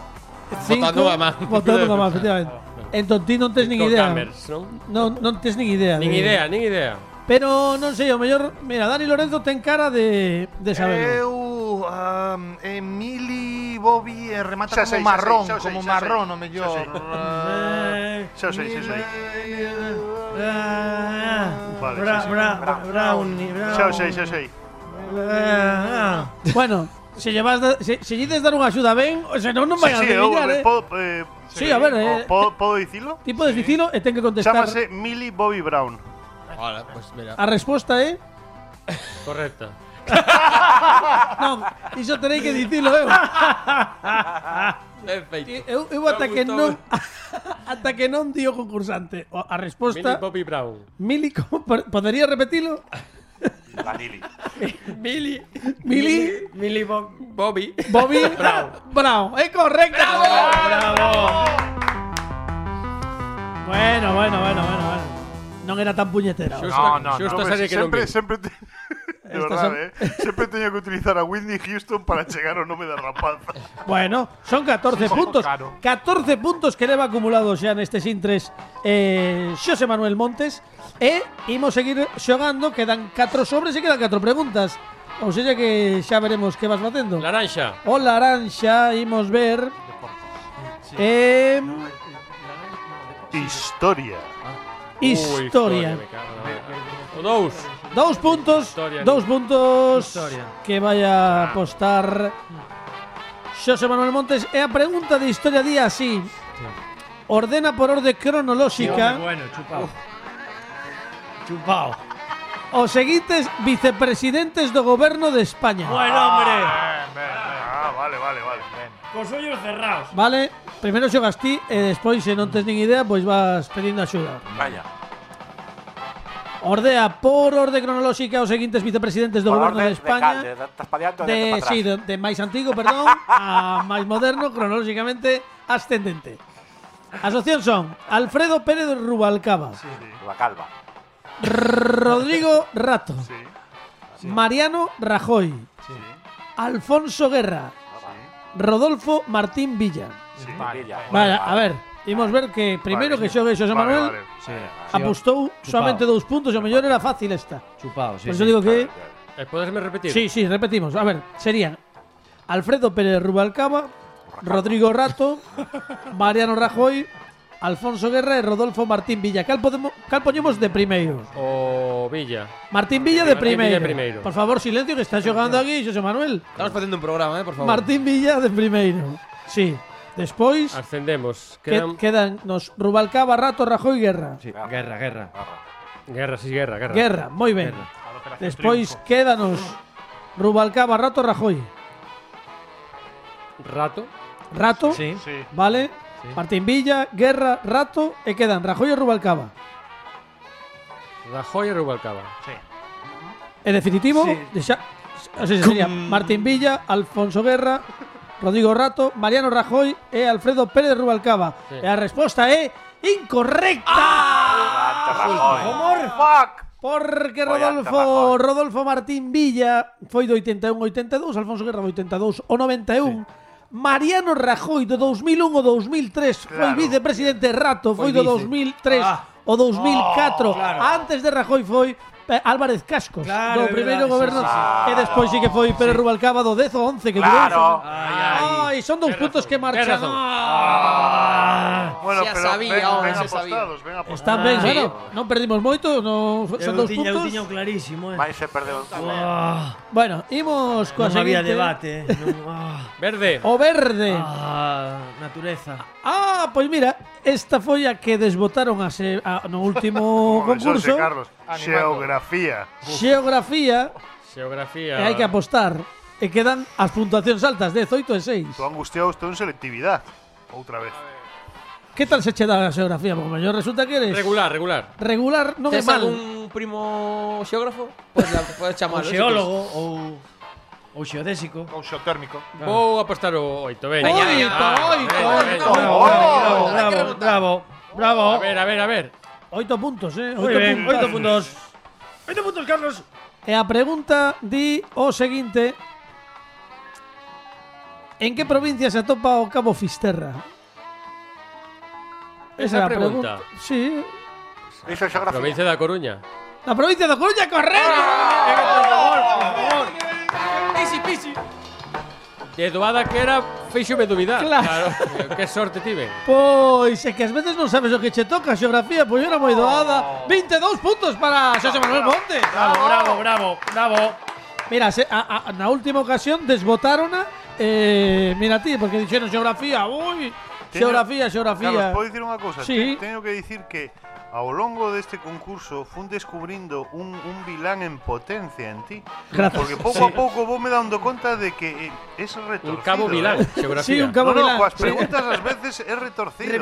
Speaker 3: Cinco,
Speaker 2: votando a man.
Speaker 3: Botando unha man, efectivamente. Entón ti non tes nin idea.
Speaker 7: Cameras, non?
Speaker 3: Non, non tes nin idea.
Speaker 7: Nin
Speaker 3: de-
Speaker 7: idea, nin idea.
Speaker 3: Pero non sei, o mellor, mira, Dani Lorenzo ten cara de de saberlo.
Speaker 6: Eu, um, Emily Bobby eh, remata
Speaker 5: Xa
Speaker 6: como
Speaker 5: sei, xa
Speaker 6: marrón,
Speaker 5: sei, xa sei,
Speaker 6: como
Speaker 5: xa
Speaker 6: marrón,
Speaker 5: sei.
Speaker 6: o mellor.
Speaker 5: Xa sei. Xa sei, xa sei.
Speaker 4: Ah.
Speaker 3: Ah.
Speaker 5: Vale,
Speaker 4: Bra,
Speaker 5: sí, sí.
Speaker 4: bra, brownie, brownie.
Speaker 5: Xa o sei, xa o sei.
Speaker 4: Ah, ah.
Speaker 3: Bueno, se llevas da- se, se llides dar unha axuda ben, o senón non vai a
Speaker 5: Sí, sí, eu,
Speaker 3: adivinar, eh.
Speaker 5: podo, eh,
Speaker 3: Sí, a ver, eh,
Speaker 5: o podo, podo dicilo?
Speaker 3: Ti podes dicilo e ten que contestar.
Speaker 5: Chámase Millie Bobby Brown.
Speaker 3: eh.
Speaker 2: Hola, pues mira.
Speaker 3: A resposta é
Speaker 7: Correcta.
Speaker 3: Non, iso tenéis que dicilo, eu.
Speaker 2: É feito.
Speaker 3: Eu, eu
Speaker 2: Me ha
Speaker 3: ata que
Speaker 2: gustado.
Speaker 3: non ata que non dio concursante o- a
Speaker 7: Millie
Speaker 3: resposta.
Speaker 7: Bobby Brown.
Speaker 3: Mili, como po- podería repetilo?
Speaker 8: Vanilli.
Speaker 2: Mili.
Speaker 3: Mili,
Speaker 7: Millie Bob.
Speaker 2: Bobby.
Speaker 3: Bobby, Brown. É correcto. Bueno, bueno, bueno, bueno, bueno. Non era tan puñetera.
Speaker 8: No, no,
Speaker 7: Xusto
Speaker 8: no.
Speaker 7: serie que non vi.
Speaker 5: sempre, sempre te... De
Speaker 3: Estas
Speaker 5: verdade,
Speaker 3: son-
Speaker 5: eh? Sempre teño que utilizar a Whitney Houston para chegar ao nome da rapaza.
Speaker 3: Bueno, son 14 puntos.
Speaker 8: claro.
Speaker 3: 14 puntos que leva acumulados xa nestes intres este eh, Xosé Manuel Montes e imos seguir xogando, quedan 4 sobres e quedan 4 preguntas. Ou seja que xa veremos que vas facendo.
Speaker 7: Laranxa.
Speaker 3: O laranxa, imos ver. Eh,
Speaker 5: Historia.
Speaker 3: historia.
Speaker 7: Ui, O dous.
Speaker 3: Dos puntos,
Speaker 7: Historia,
Speaker 3: dos puntos
Speaker 4: Historia.
Speaker 3: que vaya
Speaker 4: Ah.
Speaker 3: a apostar José Manuel Montes. E a pregunta de historia día así. Ordena por orde
Speaker 4: Hombre,
Speaker 3: cronolóxica
Speaker 4: bueno, chupao. Chupao.
Speaker 3: os seguintes vicepresidentes do goberno de España.
Speaker 4: Bueno, hombre.
Speaker 5: Ah, vale, vale, vale.
Speaker 4: Cos ollos cerrados.
Speaker 3: Vale, primeiro xogas ti e despois se non tes nin idea, pois vas pedindo axuda.
Speaker 8: Vaya.
Speaker 3: Ordea por orde cronolóxica os seguintes vicepresidentes do
Speaker 8: Por
Speaker 3: goberno
Speaker 8: orden
Speaker 3: de España.
Speaker 8: De, este calde, estás padeando de,
Speaker 3: de,
Speaker 8: para
Speaker 3: sí,
Speaker 8: atrás.
Speaker 3: de, de máis antigo, perdón, a máis moderno, cronolóxicamente ascendente. As opcións son Alfredo Pérez Rubalcaba,
Speaker 8: Tua calva.
Speaker 3: Rodrigo Rato,
Speaker 5: Sí,
Speaker 3: Mariano Rajoy, Alfonso Guerra, Rodolfo Martín Villa.
Speaker 5: sí.
Speaker 8: Vanilla.
Speaker 3: Vale, a ver, imos ver que primeiro que xogue Xosé
Speaker 5: Vale,
Speaker 3: Manuel
Speaker 5: vale.
Speaker 4: Sí.
Speaker 3: apostou solamente dous puntos, e o mellor era fácil esta.
Speaker 4: Chupao, sí.
Speaker 3: Por
Speaker 4: sí.
Speaker 3: eso digo que
Speaker 7: Eh, Podesme repetir?
Speaker 3: Sí, sí, repetimos. A ver, serían Alfredo Pérez Rubalcaba, Rodrigo Rato, Mariano Rajoy, Alfonso Guerra e Rodolfo Martín Villa. Cal, podemos, cal poñemos de primeiro?
Speaker 7: O Villa.
Speaker 3: Martín Villa de
Speaker 7: Martín Villa
Speaker 3: primeiro.
Speaker 7: de primeiro.
Speaker 3: Por favor, silencio que está xogando aquí, José Manuel.
Speaker 2: Estamos facendo un programa, eh, por favor.
Speaker 3: Martín Villa de primeiro. Sí. Despois
Speaker 7: Ascendemos.
Speaker 3: quedan, quedan
Speaker 7: Quedan...
Speaker 3: nos Rubalcaba, Rato, Rajoy, Guerra.
Speaker 4: Sí, Guerra, guerra.
Speaker 7: Guerra, sí, guerra, guerra.
Speaker 3: Guerra, moi ben. Despois quédanos Rubalcaba, Rato, Rajoy.
Speaker 7: Rato.
Speaker 3: Rato.
Speaker 4: Sí.
Speaker 5: Sí.
Speaker 3: Vale. Martín Villa, Guerra, Rato e quedan Rajoy e Rubalcaba.
Speaker 7: Rajoy e Rubalcaba.
Speaker 3: En definitivo,
Speaker 4: Sí.
Speaker 3: dexa- o sea, sería Martín Villa, Alfonso Guerra, Rodrigo Rato, Mariano Rajoy e Alfredo Pérez Rubalcaba.
Speaker 7: Sí.
Speaker 3: E a resposta é
Speaker 6: Ah!
Speaker 3: incorrecta.
Speaker 8: Levanta, Ah, Rajoy.
Speaker 3: Porque
Speaker 8: Voy a Rajoy.
Speaker 3: Rodolfo, Rodolfo Martín Villa foi do 81 82, Alfonso Guerra do 82 o 91. Mariano Rajoy do 2001 o 2003 foi
Speaker 5: Claro.
Speaker 3: vicepresidente Rato, foi,
Speaker 2: Foi
Speaker 3: do
Speaker 2: vice.
Speaker 3: 2003
Speaker 4: Ah.
Speaker 3: o 2004.
Speaker 4: Oh, claro.
Speaker 3: Antes de Rajoy foi eh, Álvarez Cascos
Speaker 4: Claro,
Speaker 3: do
Speaker 4: é
Speaker 3: primeiro
Speaker 4: verdade,
Speaker 3: goberno
Speaker 4: sí,
Speaker 8: sí, sí.
Speaker 3: e despois sí que foi Pérez Rubalcaba do 10 o 11 que
Speaker 8: Claro.
Speaker 3: durou. Ay, son dous puntos que marchan.
Speaker 7: razón.
Speaker 5: Ah, bueno,
Speaker 2: xa
Speaker 5: pero
Speaker 2: sabía,
Speaker 5: ven,
Speaker 2: home,
Speaker 5: ven
Speaker 2: xa
Speaker 5: apostados, ven apostados.
Speaker 3: Están ben,
Speaker 2: Sí.
Speaker 3: bueno, non perdimos moito, no, son
Speaker 4: Eu
Speaker 3: dous
Speaker 4: tiña, eu
Speaker 3: puntos.
Speaker 4: tiña clarísimo, eh.
Speaker 8: Vai se perdeu.
Speaker 4: Ah,
Speaker 3: Bueno, imos coa
Speaker 4: non había
Speaker 3: seguinte.
Speaker 4: debate. eh. Non, ah,
Speaker 7: Verde.
Speaker 3: O verde. Ah,
Speaker 4: ah, natureza.
Speaker 3: pois mira, esta foi a que desbotaron a se, a, no último
Speaker 5: Home, xa
Speaker 3: concurso.
Speaker 5: sei, Carlos. Xeografía.
Speaker 3: Xeografía, e
Speaker 7: Xeografía.
Speaker 3: hai que apostar. E quedan as puntuacións altas, 18 e 6.
Speaker 5: Tú angustiado estou en selectividad. Outra vez.
Speaker 3: Que tal se che dá a xeografía? Porque mellor resulta que eres
Speaker 7: Regular, regular.
Speaker 3: regular non é
Speaker 2: Tes
Speaker 3: mal.
Speaker 2: algún primo xeógrafo? Pues Pois la- podes
Speaker 4: O
Speaker 2: chamalo.
Speaker 4: xeólogo ou ou xeodésico.
Speaker 6: Ou xeotérmico.
Speaker 7: Vou apostar o oito, veña.
Speaker 2: Veña, veña.
Speaker 7: Ah,
Speaker 3: Oito, oito,
Speaker 7: veña, veña.
Speaker 2: oito.
Speaker 4: bravo,
Speaker 2: hay que
Speaker 4: bravo,
Speaker 2: remontar.
Speaker 4: bravo, bravo.
Speaker 7: A ver, a ver, a ver.
Speaker 3: 8 puntos, eh? 8
Speaker 4: Moi ben,
Speaker 3: puntos.
Speaker 4: oito puntos. Oito puntos, Carlos.
Speaker 3: E a pregunta di o seguinte. En que provincia se atopa o Cabo Fisterra?
Speaker 7: Esa
Speaker 3: era a
Speaker 7: pregunta.
Speaker 3: Sí.
Speaker 8: Dixo xeografía.
Speaker 7: Provincia da Coruña.
Speaker 3: La provincia de Coruña, correcto.
Speaker 2: Easy peasy.
Speaker 7: De doada que era, fíxome dubidar.
Speaker 3: Claro.
Speaker 7: claro. Eh, que sorte tive.
Speaker 3: Pois é que ás veces non sabes o que che toca xeografía, pois era moi doada. 22 puntos para Xosé Manuel Montes.
Speaker 4: Bravo, bravo, bravo, bravo.
Speaker 3: Mira, se, a, a, na última ocasión desbotarona eh, mira ti, porque dixeron xeografía, ui, xeografía, xeografía.
Speaker 5: Carlos, podo dicir unha cousa?
Speaker 3: Sí.
Speaker 5: Te- Teño que dicir que Ao longo deste concurso fun descubrindo un, un vilán en potencia en ti
Speaker 3: Gracias.
Speaker 5: Porque pouco a pouco vou me dando conta de que eh, es retorcido
Speaker 7: Un cabo Milán,
Speaker 5: eh.
Speaker 7: geografía.
Speaker 3: Sí, un
Speaker 5: No,
Speaker 3: cabo
Speaker 5: no,
Speaker 3: Milán.
Speaker 5: coas
Speaker 3: Sí.
Speaker 5: preguntas ás veces é retorcido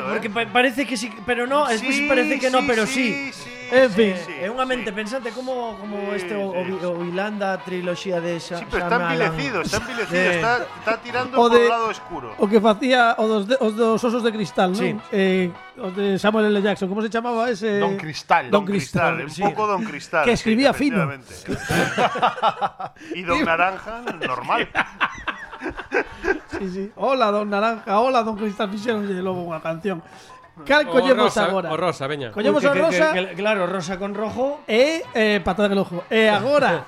Speaker 4: Re- Porque pa-
Speaker 5: eh.
Speaker 4: parece que sí, pero no, después
Speaker 5: Sí,
Speaker 4: parece que no, pero sí.
Speaker 3: En fin,
Speaker 4: es una mente pensante como, como
Speaker 5: Sí,
Speaker 4: este o,
Speaker 5: sí, sí.
Speaker 4: Hilanda trilogía de esa.
Speaker 5: Sí, pero está envilecido, está envilecido, está, está tirando
Speaker 3: O
Speaker 5: por
Speaker 3: de-
Speaker 5: el lado escuro.
Speaker 3: O que facía o dos, de- os dos osos de cristal, non?
Speaker 4: Sí.
Speaker 3: Eh, os de Samuel L. Jackson, como se chamaba ese?
Speaker 6: Eh, Don Cristal.
Speaker 3: Don
Speaker 5: Don Cristal,
Speaker 3: Cristal,
Speaker 5: un
Speaker 3: sí.
Speaker 5: poco Don Cristal.
Speaker 3: Que
Speaker 5: sí,
Speaker 3: escribía fino.
Speaker 5: efectivamente. y Don Naranja, normal.
Speaker 3: Sí, sí. Hola, Don Naranja, hola, Don Cristal Fixeron e logo unha canción. Cal
Speaker 7: O
Speaker 3: collemos
Speaker 7: rosa,
Speaker 3: agora?
Speaker 7: O rosa, veña.
Speaker 3: Collemos a rosa
Speaker 4: claro, Pues rosa con rojo.
Speaker 3: e eh, patada en el ojo. E agora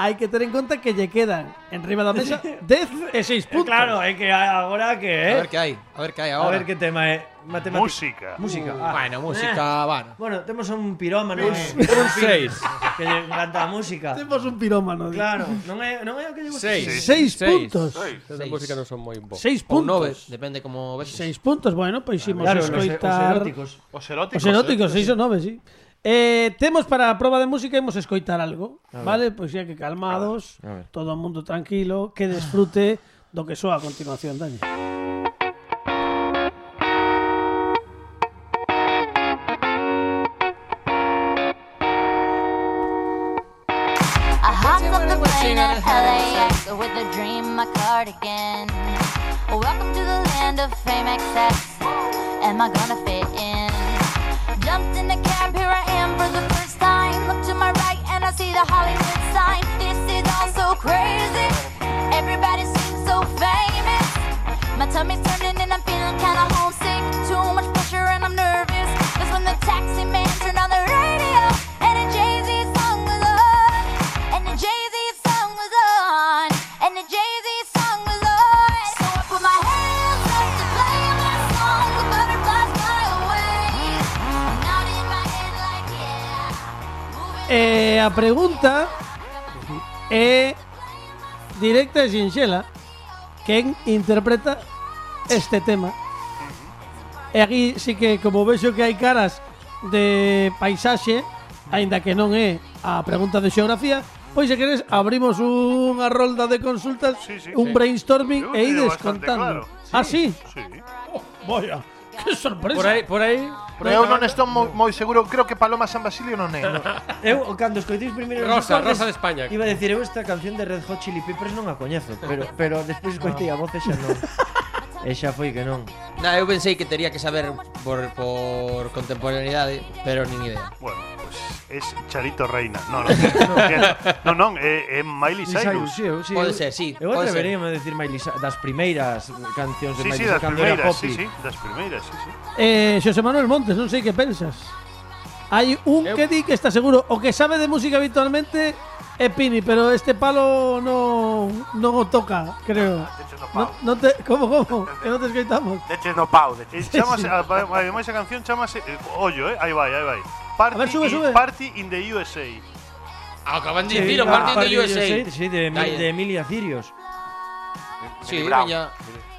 Speaker 3: hai que ter en conta que lle quedan en riba da mesa eh, 10 e 6 puntos.
Speaker 4: Eh, Claro, es que ahora que,
Speaker 2: A
Speaker 4: eh.
Speaker 2: ver qué hay, a ver qué hay
Speaker 4: A
Speaker 2: ahora. Uh,
Speaker 4: ver qué tema es. Matemática. Música.
Speaker 5: Música.
Speaker 4: ah. Eh.
Speaker 2: Bueno, música, bueno.
Speaker 4: Bueno, tenemos un pirómano eh,
Speaker 7: Un 6.
Speaker 4: que le encanta a música.
Speaker 3: Temos un pirómano.
Speaker 4: Claro, non é, non é o que lle gusta.
Speaker 7: 6.
Speaker 3: 6 puntos.
Speaker 7: Esa música non son moi boa.
Speaker 3: 6
Speaker 2: O nove,
Speaker 3: puntos.
Speaker 2: depende como ves.
Speaker 3: 6 puntos, bueno, pois imos
Speaker 4: Claro, los, e- os
Speaker 3: escoitar...
Speaker 4: eróticos.
Speaker 5: Os eróticos.
Speaker 3: Os eróticos, seis ou nove, sí. Eh, temos para a proba de música imos escoitar algo, vale? Pois xa que calmados, todo o mundo tranquilo, que desfrute do que soa a continuación, Dani.
Speaker 9: I hopped off the plane at LAX with a dream, my cardigan. Welcome to the land of fame, excess. Am I gonna fit in? Jumped in the cab, here I am for the first time. Look to my right and I see the Hollywood sign. This is all so crazy. Everybody seems so famous. My tummy's turning and I'm feeling kinda homesick. Too much pressure and I'm nervous. That's when the taxi man turned on the radio and a Jay Z song was on. And the Jay Z song was on. And the Jay Z song was on. So I put my hands up to play my song. The butterflies fly away. Nodding my head like yeah. Moving
Speaker 3: Eh, a pregunta é directa e sinxela. Quen interpreta este tema? E aquí sí que, como vexo que hai caras de paisaxe, aínda que non é a pregunta de xeografía, pois se queres abrimos unha rolda de consultas,
Speaker 5: Sí, sí.
Speaker 3: un
Speaker 5: Sí.
Speaker 3: brainstorming
Speaker 5: Eu
Speaker 3: e
Speaker 5: teño
Speaker 3: ides
Speaker 5: bastante
Speaker 3: contando.
Speaker 5: claro.
Speaker 3: Ah, sí?
Speaker 5: Sí.
Speaker 3: Vaya, que sorpresa.
Speaker 7: Por aí, por aí. por aí
Speaker 6: Pero eu
Speaker 7: outra
Speaker 6: non estou moi, moi seguro, creo que Paloma San Basilio non é. No.
Speaker 4: Eu, o cando escoiteis primeiro os
Speaker 7: Rosa,
Speaker 4: acordes,
Speaker 7: Rosa de España.
Speaker 4: Iba a decir, eu esta canción de Red Hot Chili Peppers non a coñezo Pero, pero despois escoitei a voz e xa non E xa foi que non
Speaker 2: Nah, eu pensei que tería que saber por, por contemporaneidade, pero nin idea.
Speaker 5: Bueno, pues es Charito Reina. No, no, no, no, no, é, é Miley Cyrus.
Speaker 4: sí, eu, sí,
Speaker 2: Pode
Speaker 4: eu-
Speaker 2: ser, sí,
Speaker 4: Eu
Speaker 2: pode
Speaker 4: atreveríame a decir Miley Cyrus Das primeiras cancións de
Speaker 5: Sí, sí,
Speaker 4: Miley
Speaker 5: das
Speaker 4: Cyrus cando era
Speaker 5: primeiras,
Speaker 4: popi.
Speaker 5: sí, sí, das primeiras, sí, sí.
Speaker 3: Eh, Xosé Manuel Montes, non sei que pensas. Hai un
Speaker 7: Eu-
Speaker 3: que di que está seguro o que sabe de música habitualmente é Pini, pero este palo non non o toca, creo.
Speaker 8: Deches no
Speaker 3: No,
Speaker 8: pau.
Speaker 3: non te, como como? Que non te escoitamos.
Speaker 8: Deches no pau.
Speaker 5: E
Speaker 8: Deches.
Speaker 5: chamase, ademais a canción chamase, eh, ollo, eh, aí vai, aí vai. Party,
Speaker 3: ver, sube,
Speaker 5: in-
Speaker 3: sube.
Speaker 5: Party in the USA.
Speaker 2: Acaban de
Speaker 4: Sí,
Speaker 2: decir, o
Speaker 4: ah,
Speaker 2: Martin
Speaker 4: Party
Speaker 2: de
Speaker 4: in
Speaker 2: USA.
Speaker 4: Sí, de,
Speaker 2: Dai,
Speaker 4: de Emilia Cirios
Speaker 2: Sí,
Speaker 8: Bravo.
Speaker 2: veña.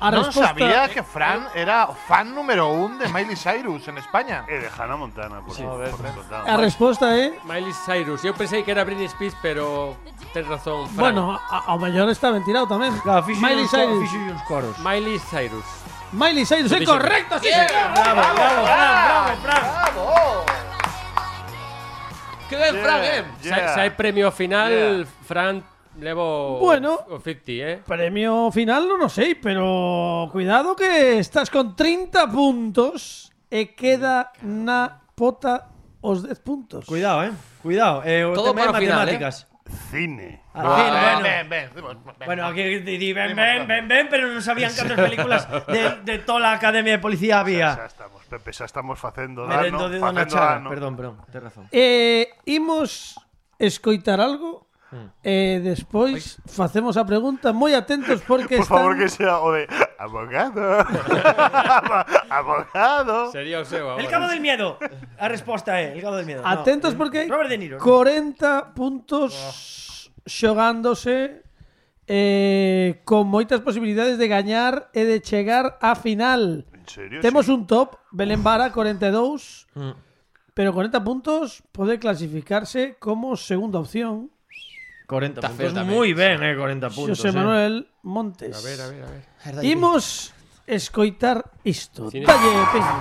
Speaker 3: A
Speaker 6: non
Speaker 3: resposta
Speaker 6: sabía que Fran era fan número un de Miley Cyrus en España.
Speaker 8: Eh,
Speaker 5: E de Hannah Montana, por, sí, por, descontado.
Speaker 3: A ¿eh? resposta é
Speaker 7: Miley Cyrus. Eu pensei que era Britney Spears, pero tens razón, Fran.
Speaker 3: Bueno, a- ao mellor está mentirado tamén.
Speaker 4: Claro, fixo
Speaker 3: Miley Cyrus.
Speaker 4: uns coros
Speaker 7: Miley Cyrus.
Speaker 3: Miley Cyrus, é
Speaker 7: dixen.
Speaker 3: correcto, sí, señor.
Speaker 4: Bravo, bravo, Fran, bravo, Fran
Speaker 2: Que ben,
Speaker 5: Yeah,
Speaker 2: Fran, eh.
Speaker 5: yeah.
Speaker 7: Se, se hai premio final,
Speaker 5: Yeah.
Speaker 7: Fran levo
Speaker 3: Bueno.
Speaker 7: o 50, eh.
Speaker 3: Premio final non o sei, pero cuidado que estás con 30 puntos e queda na pota os 10 puntos.
Speaker 4: Cuidado, eh Cuidado, eh, o
Speaker 2: Todo
Speaker 4: tema é
Speaker 2: para o final,
Speaker 4: matemáticas
Speaker 5: Cine.
Speaker 4: Al fin, bueno.
Speaker 6: Ven, ven, ven, ven.
Speaker 4: Bueno, aquí di- di, ven, ven, ven, ven, pero non sabían cantas películas de, de toda a Academia de Policía
Speaker 5: Xa
Speaker 4: había.
Speaker 5: estamos, Pepe, xa estamos facendo dano,
Speaker 4: Merendo de Dona
Speaker 5: facendo
Speaker 4: Chara.
Speaker 5: dano.
Speaker 4: Perdón, perdón, tens razón.
Speaker 3: Eh, imos escoitar algo e despois facemos a pregunta moi atentos porque
Speaker 5: Por favor, que
Speaker 3: están
Speaker 5: sea o de abogado. abogado.
Speaker 7: Sería o seu
Speaker 4: El
Speaker 7: agora.
Speaker 4: cabo del miedo. A resposta é, el cabo del miedo.
Speaker 3: atentos porque
Speaker 4: Robert De Niro, ¿no? Oh.
Speaker 3: 40 puntos xogándose eh, con moitas posibilidades de gañar e de chegar á final.
Speaker 5: En
Speaker 4: Mm.
Speaker 5: serio?
Speaker 3: Temos un top, Belén Vara, 42. pero 40 puntos puede clasificarse como segunda opción.
Speaker 4: 40
Speaker 2: Está feo
Speaker 4: puntos.
Speaker 2: tamén.
Speaker 4: Muy ben, eh, 40 puntos.
Speaker 3: José
Speaker 4: eh.
Speaker 3: Manuel Montes.
Speaker 7: A ver, a ver, a ver.
Speaker 3: Imos escoitar isto.
Speaker 7: Cine.
Speaker 3: Dalle, peña.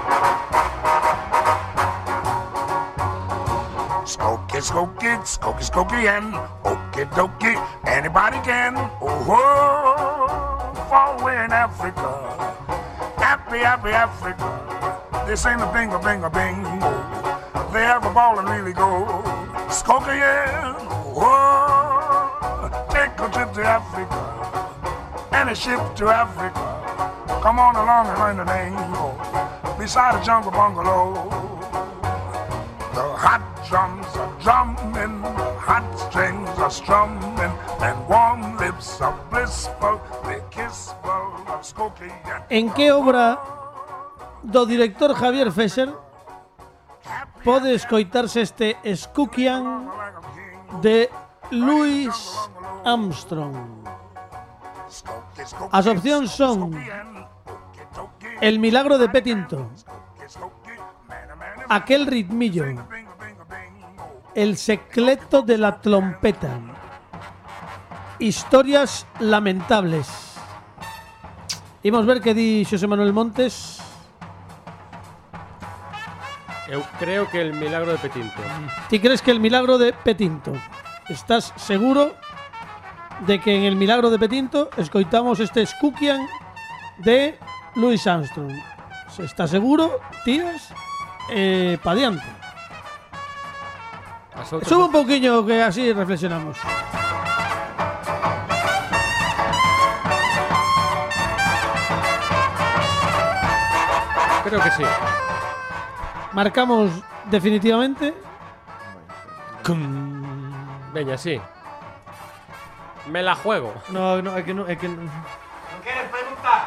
Speaker 10: Skokie, skokie, skokie, skokie, and okie dokie, anybody can. Oh, oh, fall in Africa. Happy, happy Africa. This ain't a bing a bing a bing. They have a ball and really go. Skokie, yeah. Oh, take a trip to Africa. And a ship to Africa. Come on along and learn the name. Beside a jungle bungalow. The hot drums are drumming, the hot strings are strumming, and warm lips are blissful, they kiss full of skokie and
Speaker 3: En que obra do director Javier Fesser pode escoitarse este Skookian
Speaker 10: like a king.
Speaker 3: de Louis Armstrong?
Speaker 10: Skokie, skokie,
Speaker 3: As opcións son
Speaker 10: skokie and okie dokie,
Speaker 3: El milagro de Petinto,
Speaker 10: skokie, skokie, man, a man, a
Speaker 3: Aquel ritmillo,
Speaker 10: bing, a bing, a bing, oh.
Speaker 3: El secreto de la trompeta. Historias lamentables. Imos ver que di Xosé Manuel Montes.
Speaker 7: Eu creo que el milagro de Petinto.
Speaker 8: Mm.
Speaker 3: Ti crees que el milagro de Petinto. Estás seguro de que en el milagro de Petinto escoitamos este Skookian de Louis Armstrong. Se está seguro, tiras eh, pa diante.
Speaker 7: As outras-
Speaker 3: Sube un pouquiño que así reflexionamos.
Speaker 7: Creo que sí.
Speaker 3: Marcamos definitivamente
Speaker 7: Veña, sí. Me la juego.
Speaker 4: No, no, é que non, é que non. queres preguntar?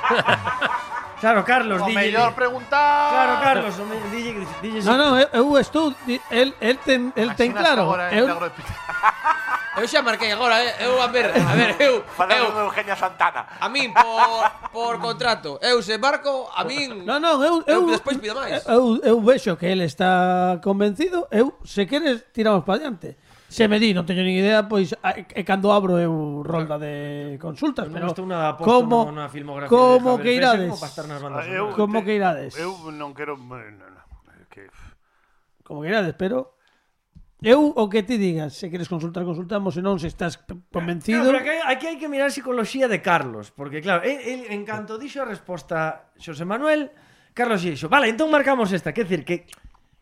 Speaker 4: claro, Carlos,
Speaker 6: O
Speaker 4: dille.
Speaker 6: mellor preguntar.
Speaker 4: Claro, Carlos, o me- dille, que- dille.
Speaker 3: No, no, eu- eu estou di- el, el ten, el ten
Speaker 6: Así
Speaker 3: claro.
Speaker 6: agora,
Speaker 3: Eu,
Speaker 6: milagro de Petinto.
Speaker 5: Ah,
Speaker 2: Eu xa marquei agora, eh. eu a ver, a ver, eu, eu
Speaker 8: Falamos de Eugenia Santana.
Speaker 2: a min por por contrato, eu se marco, a min
Speaker 3: non, non, eu, eu,
Speaker 2: Eu despois pido máis.
Speaker 3: Eu, eu vexo que el está convencido, eu se queres tiramos para diante. Se me di, non teño nin idea, pois a- e cando abro eu ronda de consultas,
Speaker 4: Non
Speaker 3: pero
Speaker 4: estou nada aposto
Speaker 3: como
Speaker 4: na- na filmografía
Speaker 3: como
Speaker 4: de Javier
Speaker 3: que
Speaker 4: Fesser
Speaker 3: irades?
Speaker 4: Como para estar nas bandas
Speaker 5: Ah, eu-
Speaker 4: sonoras.
Speaker 3: Como que irades?
Speaker 5: Eu non quero... eh, No, no, eh, que...
Speaker 3: Como que irades, pero eu o que ti digas, se queres consultar, consultamos, se non se estás p-
Speaker 4: Claro,
Speaker 3: convencido.
Speaker 4: pero aquí, hai- aquí hai que mirar a psicología de Carlos, porque claro, el, el, en canto dixo a resposta Xosé Manuel, Carlos dixo, vale, entón marcamos esta, quer decir, que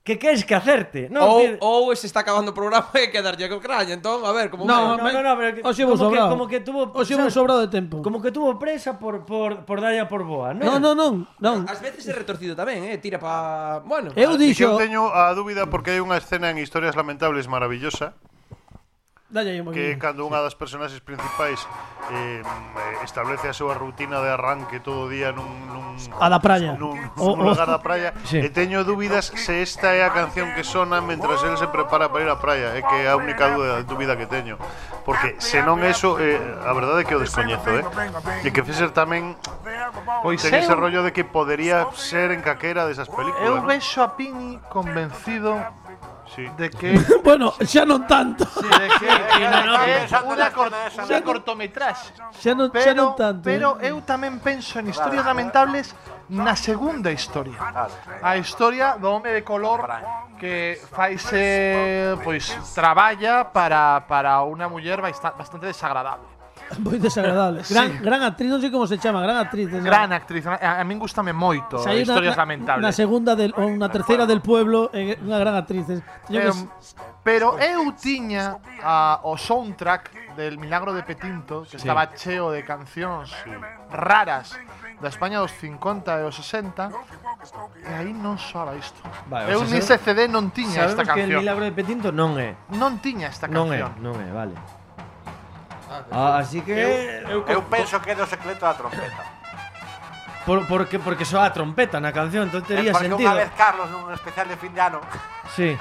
Speaker 4: que queres que hacerte? No,
Speaker 2: ou
Speaker 4: que,
Speaker 2: ou se está acabando o programa e quedarlle co craña, entón a ver como
Speaker 3: No,
Speaker 4: no,
Speaker 2: vai.
Speaker 4: no, no, pero que-
Speaker 3: hoxe vos
Speaker 4: como que-
Speaker 3: sobrado.
Speaker 4: como que tuvo-
Speaker 3: Hoxe vos
Speaker 4: ¿sabes?
Speaker 3: sobrado de tempo.
Speaker 4: como que tuvo presa por, por, por dalla por boa, non?
Speaker 3: Non, non, non, non.
Speaker 2: Ás veces é retorcido tamén, eh, tira pa, bueno.
Speaker 3: Eu
Speaker 5: É que eu
Speaker 3: dixo,
Speaker 5: teño a dúbida porque hai unha escena en Historias Lamentables maravillosa
Speaker 3: dalle aí un
Speaker 5: que
Speaker 3: poquinho.
Speaker 5: cando unha das personaxes principais eh, establece a súa rutina de arranque todo o día nun, nun
Speaker 3: A da praia.
Speaker 5: nun,
Speaker 3: O-
Speaker 5: nun lugar
Speaker 3: o-
Speaker 5: da praia
Speaker 4: Sí.
Speaker 5: sí. e teño dúbidas se esta é a canción que sona mentras el se prepara para ir á praia é que é a única dúbida, dúbida que teño porque se non eso eh, a verdade é que o descoñezo eh? e que Fischer tamén
Speaker 6: Pois
Speaker 5: ten
Speaker 6: Pues
Speaker 5: ese
Speaker 6: eu,
Speaker 5: rollo de que podería ser en caquera desas películas
Speaker 6: eu
Speaker 5: non?
Speaker 6: vexo a Pini convencido
Speaker 5: sí.
Speaker 6: de que
Speaker 3: Bueno, xa non tanto.
Speaker 6: Sí, de que é
Speaker 8: pensando na
Speaker 6: unha, cor
Speaker 8: escena esa,
Speaker 6: unha
Speaker 8: non?
Speaker 6: cortometraxe.
Speaker 3: Xa non, xa non
Speaker 6: Pero,
Speaker 3: tanto.
Speaker 6: pero
Speaker 3: eh.
Speaker 6: eu tamén penso en historias lamentables na segunda historia. A historia do home de color que faise pois traballa para para unha muller baista- bastante desagradable.
Speaker 3: Moi desagradable. Gran, gran actriz, non sei como se chama, gran actriz. esa.
Speaker 6: Gran actriz, a, a min gustame moito
Speaker 3: Se hai unha-
Speaker 6: historias
Speaker 3: na- Na
Speaker 6: lamentables.
Speaker 3: segunda del, ou na terceira del pueblo, eh, unha gran actriz. eh. Teño que
Speaker 6: Em, pero eu tiña a, o soundtrack del Milagro de Petinto, que estaba cheo de cancións raras da España dos 50 e os 60, e aí non soaba isto.
Speaker 4: Vale,
Speaker 6: eu
Speaker 4: o sea,
Speaker 6: ni
Speaker 4: sabe-
Speaker 6: CD non tiña esta
Speaker 4: Sabemos que el
Speaker 6: canción.
Speaker 4: milagro de Petinto non é.
Speaker 6: Non tiña esta
Speaker 4: Non é,
Speaker 6: canción.
Speaker 4: non é, vale. Ah, así que
Speaker 7: Eu,
Speaker 8: Eu penso que é do secreto da trompeta.
Speaker 4: por, porque porque soa a trompeta na canción,
Speaker 8: É
Speaker 4: entón tería
Speaker 8: porque
Speaker 4: sentido.
Speaker 8: unha vez Carlos nun especial de fin de ano
Speaker 4: Sí.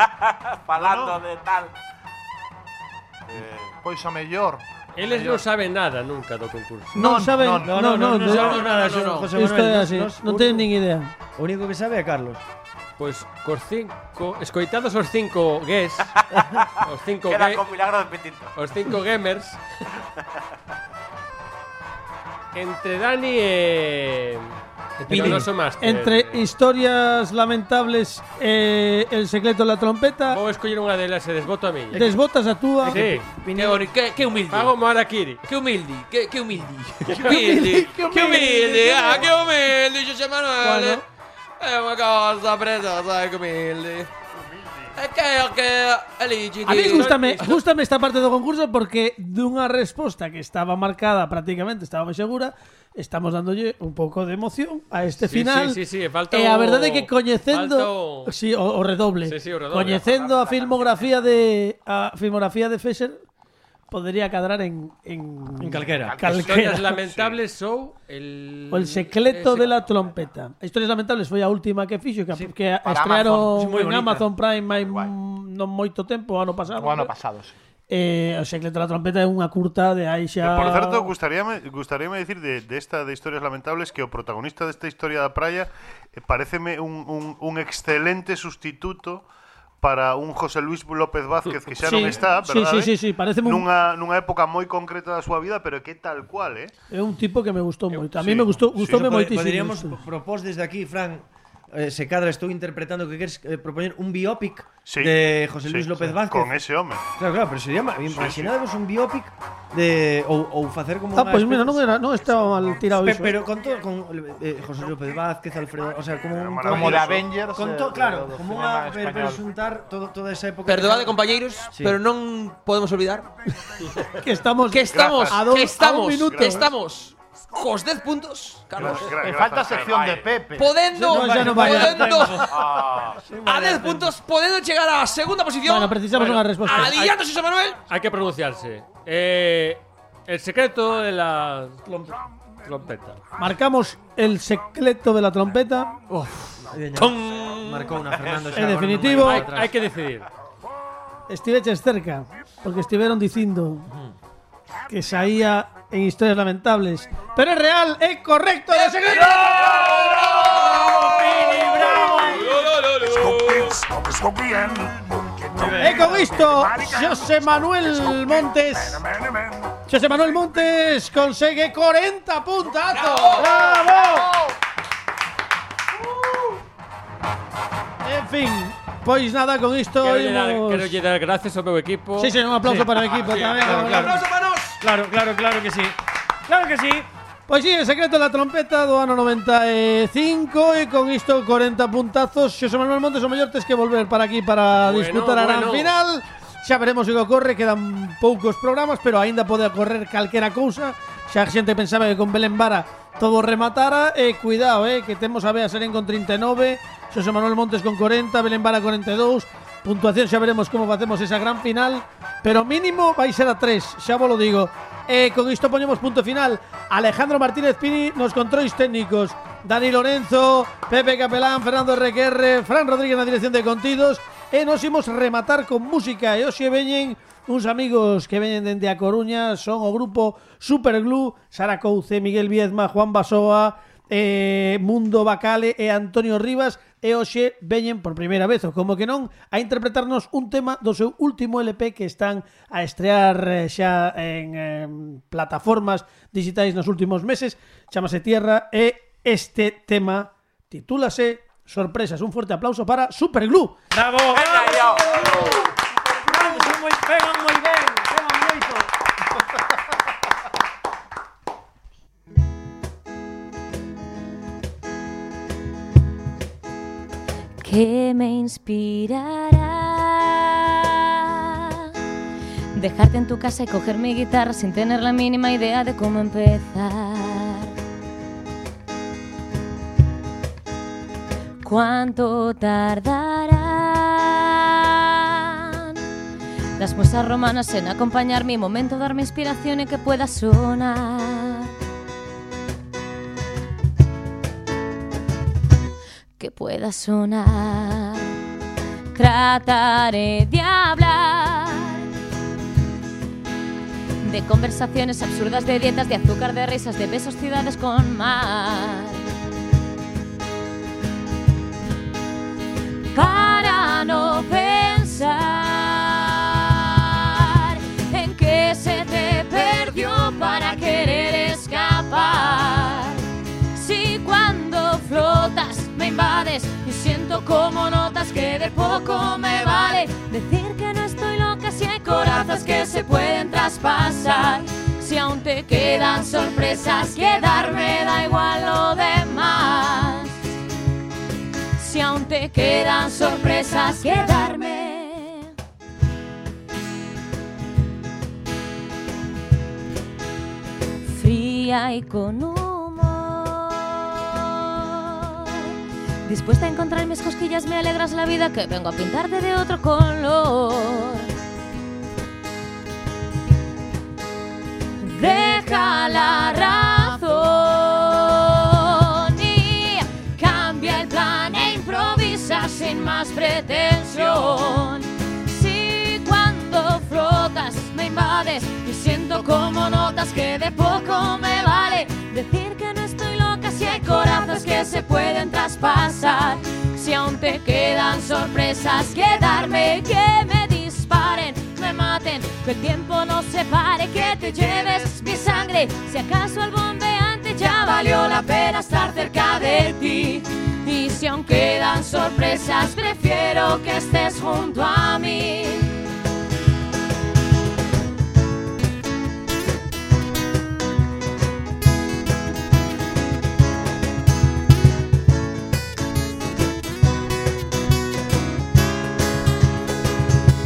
Speaker 8: falando de tal
Speaker 6: Eh, Pois o mellor.
Speaker 7: eles non saben nada nunca do concurso.
Speaker 3: Non saben,
Speaker 6: non,
Speaker 3: non, non, non.
Speaker 4: sabemos nada,
Speaker 2: no, no,
Speaker 4: José Manuel.
Speaker 3: Isto é
Speaker 4: nos-
Speaker 3: así,
Speaker 4: nos-
Speaker 3: non teñen nin idea.
Speaker 4: O único que sabe é Carlos.
Speaker 7: Pois cos Pues, cinco, escoitando os cinco gues, os cinco
Speaker 8: Queda
Speaker 7: gue-
Speaker 8: con milagro de petinto.
Speaker 7: Os cinco gamers Entre Dani e... e
Speaker 3: Pini.
Speaker 7: Coloso Master
Speaker 3: Entre historias lamentables e El secreto de la trompeta,
Speaker 7: Vou escoller unha delas e desvoto a miña
Speaker 3: desbotas a túa.
Speaker 7: Sí,
Speaker 2: Qué, boni- qué- qué humilde.
Speaker 7: pago Moara Kiri
Speaker 2: Qué humilde, qué, qué humilde. Qué humilde, qué humilde, ah, qué humilde, José
Speaker 3: Bueno.
Speaker 2: Manuel. Es una cosa preciosa, qué humilde. Es que es que elige.
Speaker 3: A mí
Speaker 2: de-
Speaker 3: gustame, gustame esta parte do concurso porque dunha resposta que estaba marcada prácticamente, estaba moi segura, estamos dándolle un pouco de emoción a este
Speaker 7: Sí,
Speaker 3: final.
Speaker 7: sí, sí, sí, falta
Speaker 3: e
Speaker 7: o-
Speaker 3: a verdade é que coñecendo
Speaker 7: falta o-
Speaker 3: sí, o, o redoble.
Speaker 7: Sí, sí, o redoble.
Speaker 3: Coñecendo a filmografía de a filmografía de Fesser podría cadrar en en,
Speaker 4: En calquera.
Speaker 7: Historias
Speaker 3: calquera.
Speaker 7: lamentables sou el...
Speaker 3: O el secreto
Speaker 7: ese-
Speaker 3: de la trompeta. Historias lamentables foi a última que fixo que, que
Speaker 6: para
Speaker 3: estrearon
Speaker 6: Amazon. Sí, moi
Speaker 3: en
Speaker 6: bonita.
Speaker 3: Amazon Prime hai
Speaker 6: Guai.
Speaker 3: mm, non moito tempo, ano
Speaker 4: Ah,
Speaker 3: pasado.
Speaker 6: O ano
Speaker 3: creo.
Speaker 6: pasado, sí.
Speaker 3: Eh, o secreto da trompeta é unha curta de aí xa...
Speaker 5: Que, por certo, gustaríame, gustaríame decir de, de esta de Historias Lamentables que o protagonista desta historia da praia eh, pareceme un, un, un excelente sustituto para un José Luis López Vázquez que xa
Speaker 3: Sí,
Speaker 5: non está,
Speaker 3: sí, sí,
Speaker 5: verdade?
Speaker 3: sí, sí, paréceme un-
Speaker 5: nunha, nunha época moi concreta da súa vida, pero que tal cual, eh?
Speaker 3: É un tipo que me gustou moito. A mí
Speaker 5: sí,
Speaker 3: me gustou,
Speaker 5: sí.
Speaker 3: gustoume
Speaker 4: Pod-
Speaker 3: moitísimo.
Speaker 4: Poderíamos
Speaker 3: isto.
Speaker 4: propós desde aquí, Fran, eh, se cadra estou interpretando que queres eh, propoñer un biopic
Speaker 5: Sí.
Speaker 4: de José
Speaker 5: sí,
Speaker 4: Luis López
Speaker 5: sí.
Speaker 4: Vázquez.
Speaker 5: Con ese home.
Speaker 4: Claro, claro, pero sería ma- imaginadevos un biopic de ou ou facer como
Speaker 3: Ah,
Speaker 4: unha
Speaker 3: pois mira, non
Speaker 4: especie-
Speaker 3: era, non estaba mal tirado
Speaker 4: Pe-
Speaker 3: iso. eh.
Speaker 4: pero con todo con eh, José López Vázquez, Alfredo, o sea, como un
Speaker 5: Maravilloso.
Speaker 6: Como de Avengers.
Speaker 4: con
Speaker 6: eh,
Speaker 4: to,
Speaker 6: do-
Speaker 4: claro,
Speaker 6: do
Speaker 4: como
Speaker 6: cinema
Speaker 4: unha
Speaker 6: español.
Speaker 4: per, per xuntar todo toda esa época.
Speaker 2: Perdoade, compañeiros,
Speaker 4: Sí.
Speaker 2: pero non podemos olvidar
Speaker 3: que estamos
Speaker 2: que estamos,
Speaker 3: a dos,
Speaker 2: que
Speaker 3: a un
Speaker 2: estamos,
Speaker 3: minuto.
Speaker 2: que estamos cos 10 puntos, Carlos.
Speaker 6: Me
Speaker 5: Gra- gracias,
Speaker 6: falta
Speaker 5: Fer.
Speaker 6: sección de
Speaker 8: Vale.
Speaker 6: Pepe.
Speaker 2: Podendo,
Speaker 3: No, ya no vaya.
Speaker 2: podendo,
Speaker 8: Ah,
Speaker 2: a 10 puntos, podendo chegar á segunda posición.
Speaker 3: Bueno, precisamos unha resposta.
Speaker 2: Aliando José Manuel.
Speaker 7: Hai que pronunciarse eh, El secreto de la... Trompeta
Speaker 3: Marcamos el secreto de la trompeta.
Speaker 4: Marcou unha Fernando
Speaker 3: En definitivo.
Speaker 4: non vai
Speaker 7: Hai,
Speaker 4: atrás.
Speaker 7: hai que decidir
Speaker 3: Estiveches cerca, porque estiveron dicindo que saía en historias lamentables. Pero é real, é correcto, é o secreto.
Speaker 10: Scooby, Scooby and
Speaker 3: E con isto, José Manuel Montes, José Manuel Montes consegue 40 puntazos. ¡Bravo! En fin, pois nada, con isto
Speaker 7: Quero lle dar,
Speaker 3: imos-
Speaker 7: quero lle dar gracias ao meu equipo
Speaker 3: Sí, sí, un aplauso para o equipo tamén.
Speaker 4: Ah, claro,
Speaker 3: vamos lá.
Speaker 4: claro.
Speaker 2: Aplauso para nós.
Speaker 4: Claro, claro, claro que sí. Claro que sí.
Speaker 3: Pois Pues sí, el secreto da trompeta do ano 95 e con isto 40 puntazos. Xosé Manuel Montes o mellor tes que volver para aquí para
Speaker 7: Bueno,
Speaker 3: disputar a gran
Speaker 7: bueno.
Speaker 3: final. Xa veremos o que ocorre, quedan poucos programas, pero aínda pode ocorrer calquera cousa. Xa a xente pensaba que con Belén Vara todo rematara e cuidado, eh, que temos a Bea Serén con 39, Xosé Manuel Montes con 40, Belén Vara 42. Puntuación xa veremos como facemos esa gran final, pero mínimo vai ser a 3, xa vos lo digo. E con isto poñemos punto final. Alejandro Martínez Pini nos controis técnicos. Dani Lorenzo, Pepe Capelán, Fernando Requerre, Fran Rodríguez na dirección de contidos. E nos imos rematar con música. E hoxe veñen uns amigos que veñen dende a Coruña. Son o grupo Superglue, Sara Couce, Miguel Viezma, Juan Basoa, eh, Mundo Bacale e Antonio Rivas. E hoxe veñen por primeira vez, ou como que non, a interpretarnos un tema do seu último LP que están a estrear eh, xa en eh, plataformas digitais nos últimos meses. Chamase Tierra e este tema titúlase Sorpresas. Un fuerte aplauso para Superglue.
Speaker 4: Bravo.
Speaker 8: venga, yo.
Speaker 4: Bravo, son moi pegan moi ben, pegan moito.
Speaker 9: que me inspirará. Dejarte en tu casa y coger mi guitarra sin tener la mínima idea de cómo empezar. ¿Cuánto tardarán las musas romanas en acompañar mi momento, darme inspiración y que pueda sonar? que pueda sonar. Trataré de hablar de conversaciones absurdas, de dietas, de azúcar, de risas, de besos, ciudades con mar.
Speaker 11: para no pensar en que se te perdió para querer escapar. Si cuando flotas me invades y siento como notas que de poco me vale decir que no estoy loca si hay corazas que se pueden traspasar. Si aún te quedan sorpresas, quedarme da igual lo demás. Si aún te quedan sorpresas, quedarme. Fría y con humor. Dispuesta a encontrar mis cosquillas, me alegras la vida que vengo a pintarte de otro color. Deja la razón y cambia el plan e improvisa sin más pretensión. Si cuando flotas me invades y siento como notas que de poco me vale decir que no estoy loca si hay corazas que se pueden traspasar. Si aún te quedan sorpresas, quedarme que me disparen, me maten, que el tiempo nos separe, que te lleves mi sangre. Si acaso al bombeante ya valió la pena estar cerca de ti. Y si aún quedan sorpresas, prefiero que estés junto a mí.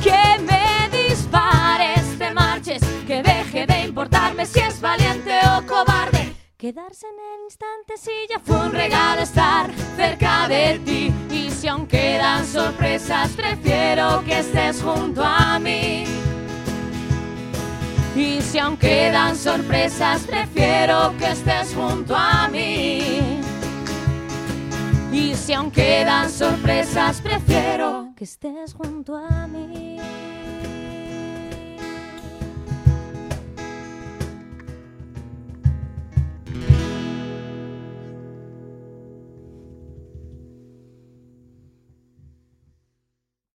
Speaker 11: Que me dispares, te marches, que deje de importarme si es valiente o cobarde. Quedarse en el instante si ya fue un regalo estar cerca de ti. Y si aún quedan sorpresas, prefiero que estés junto a mí. Y si aún quedan sorpresas, prefiero que estés junto a mí. Y si aún quedan sorpresas, prefiero que estés junto a mí.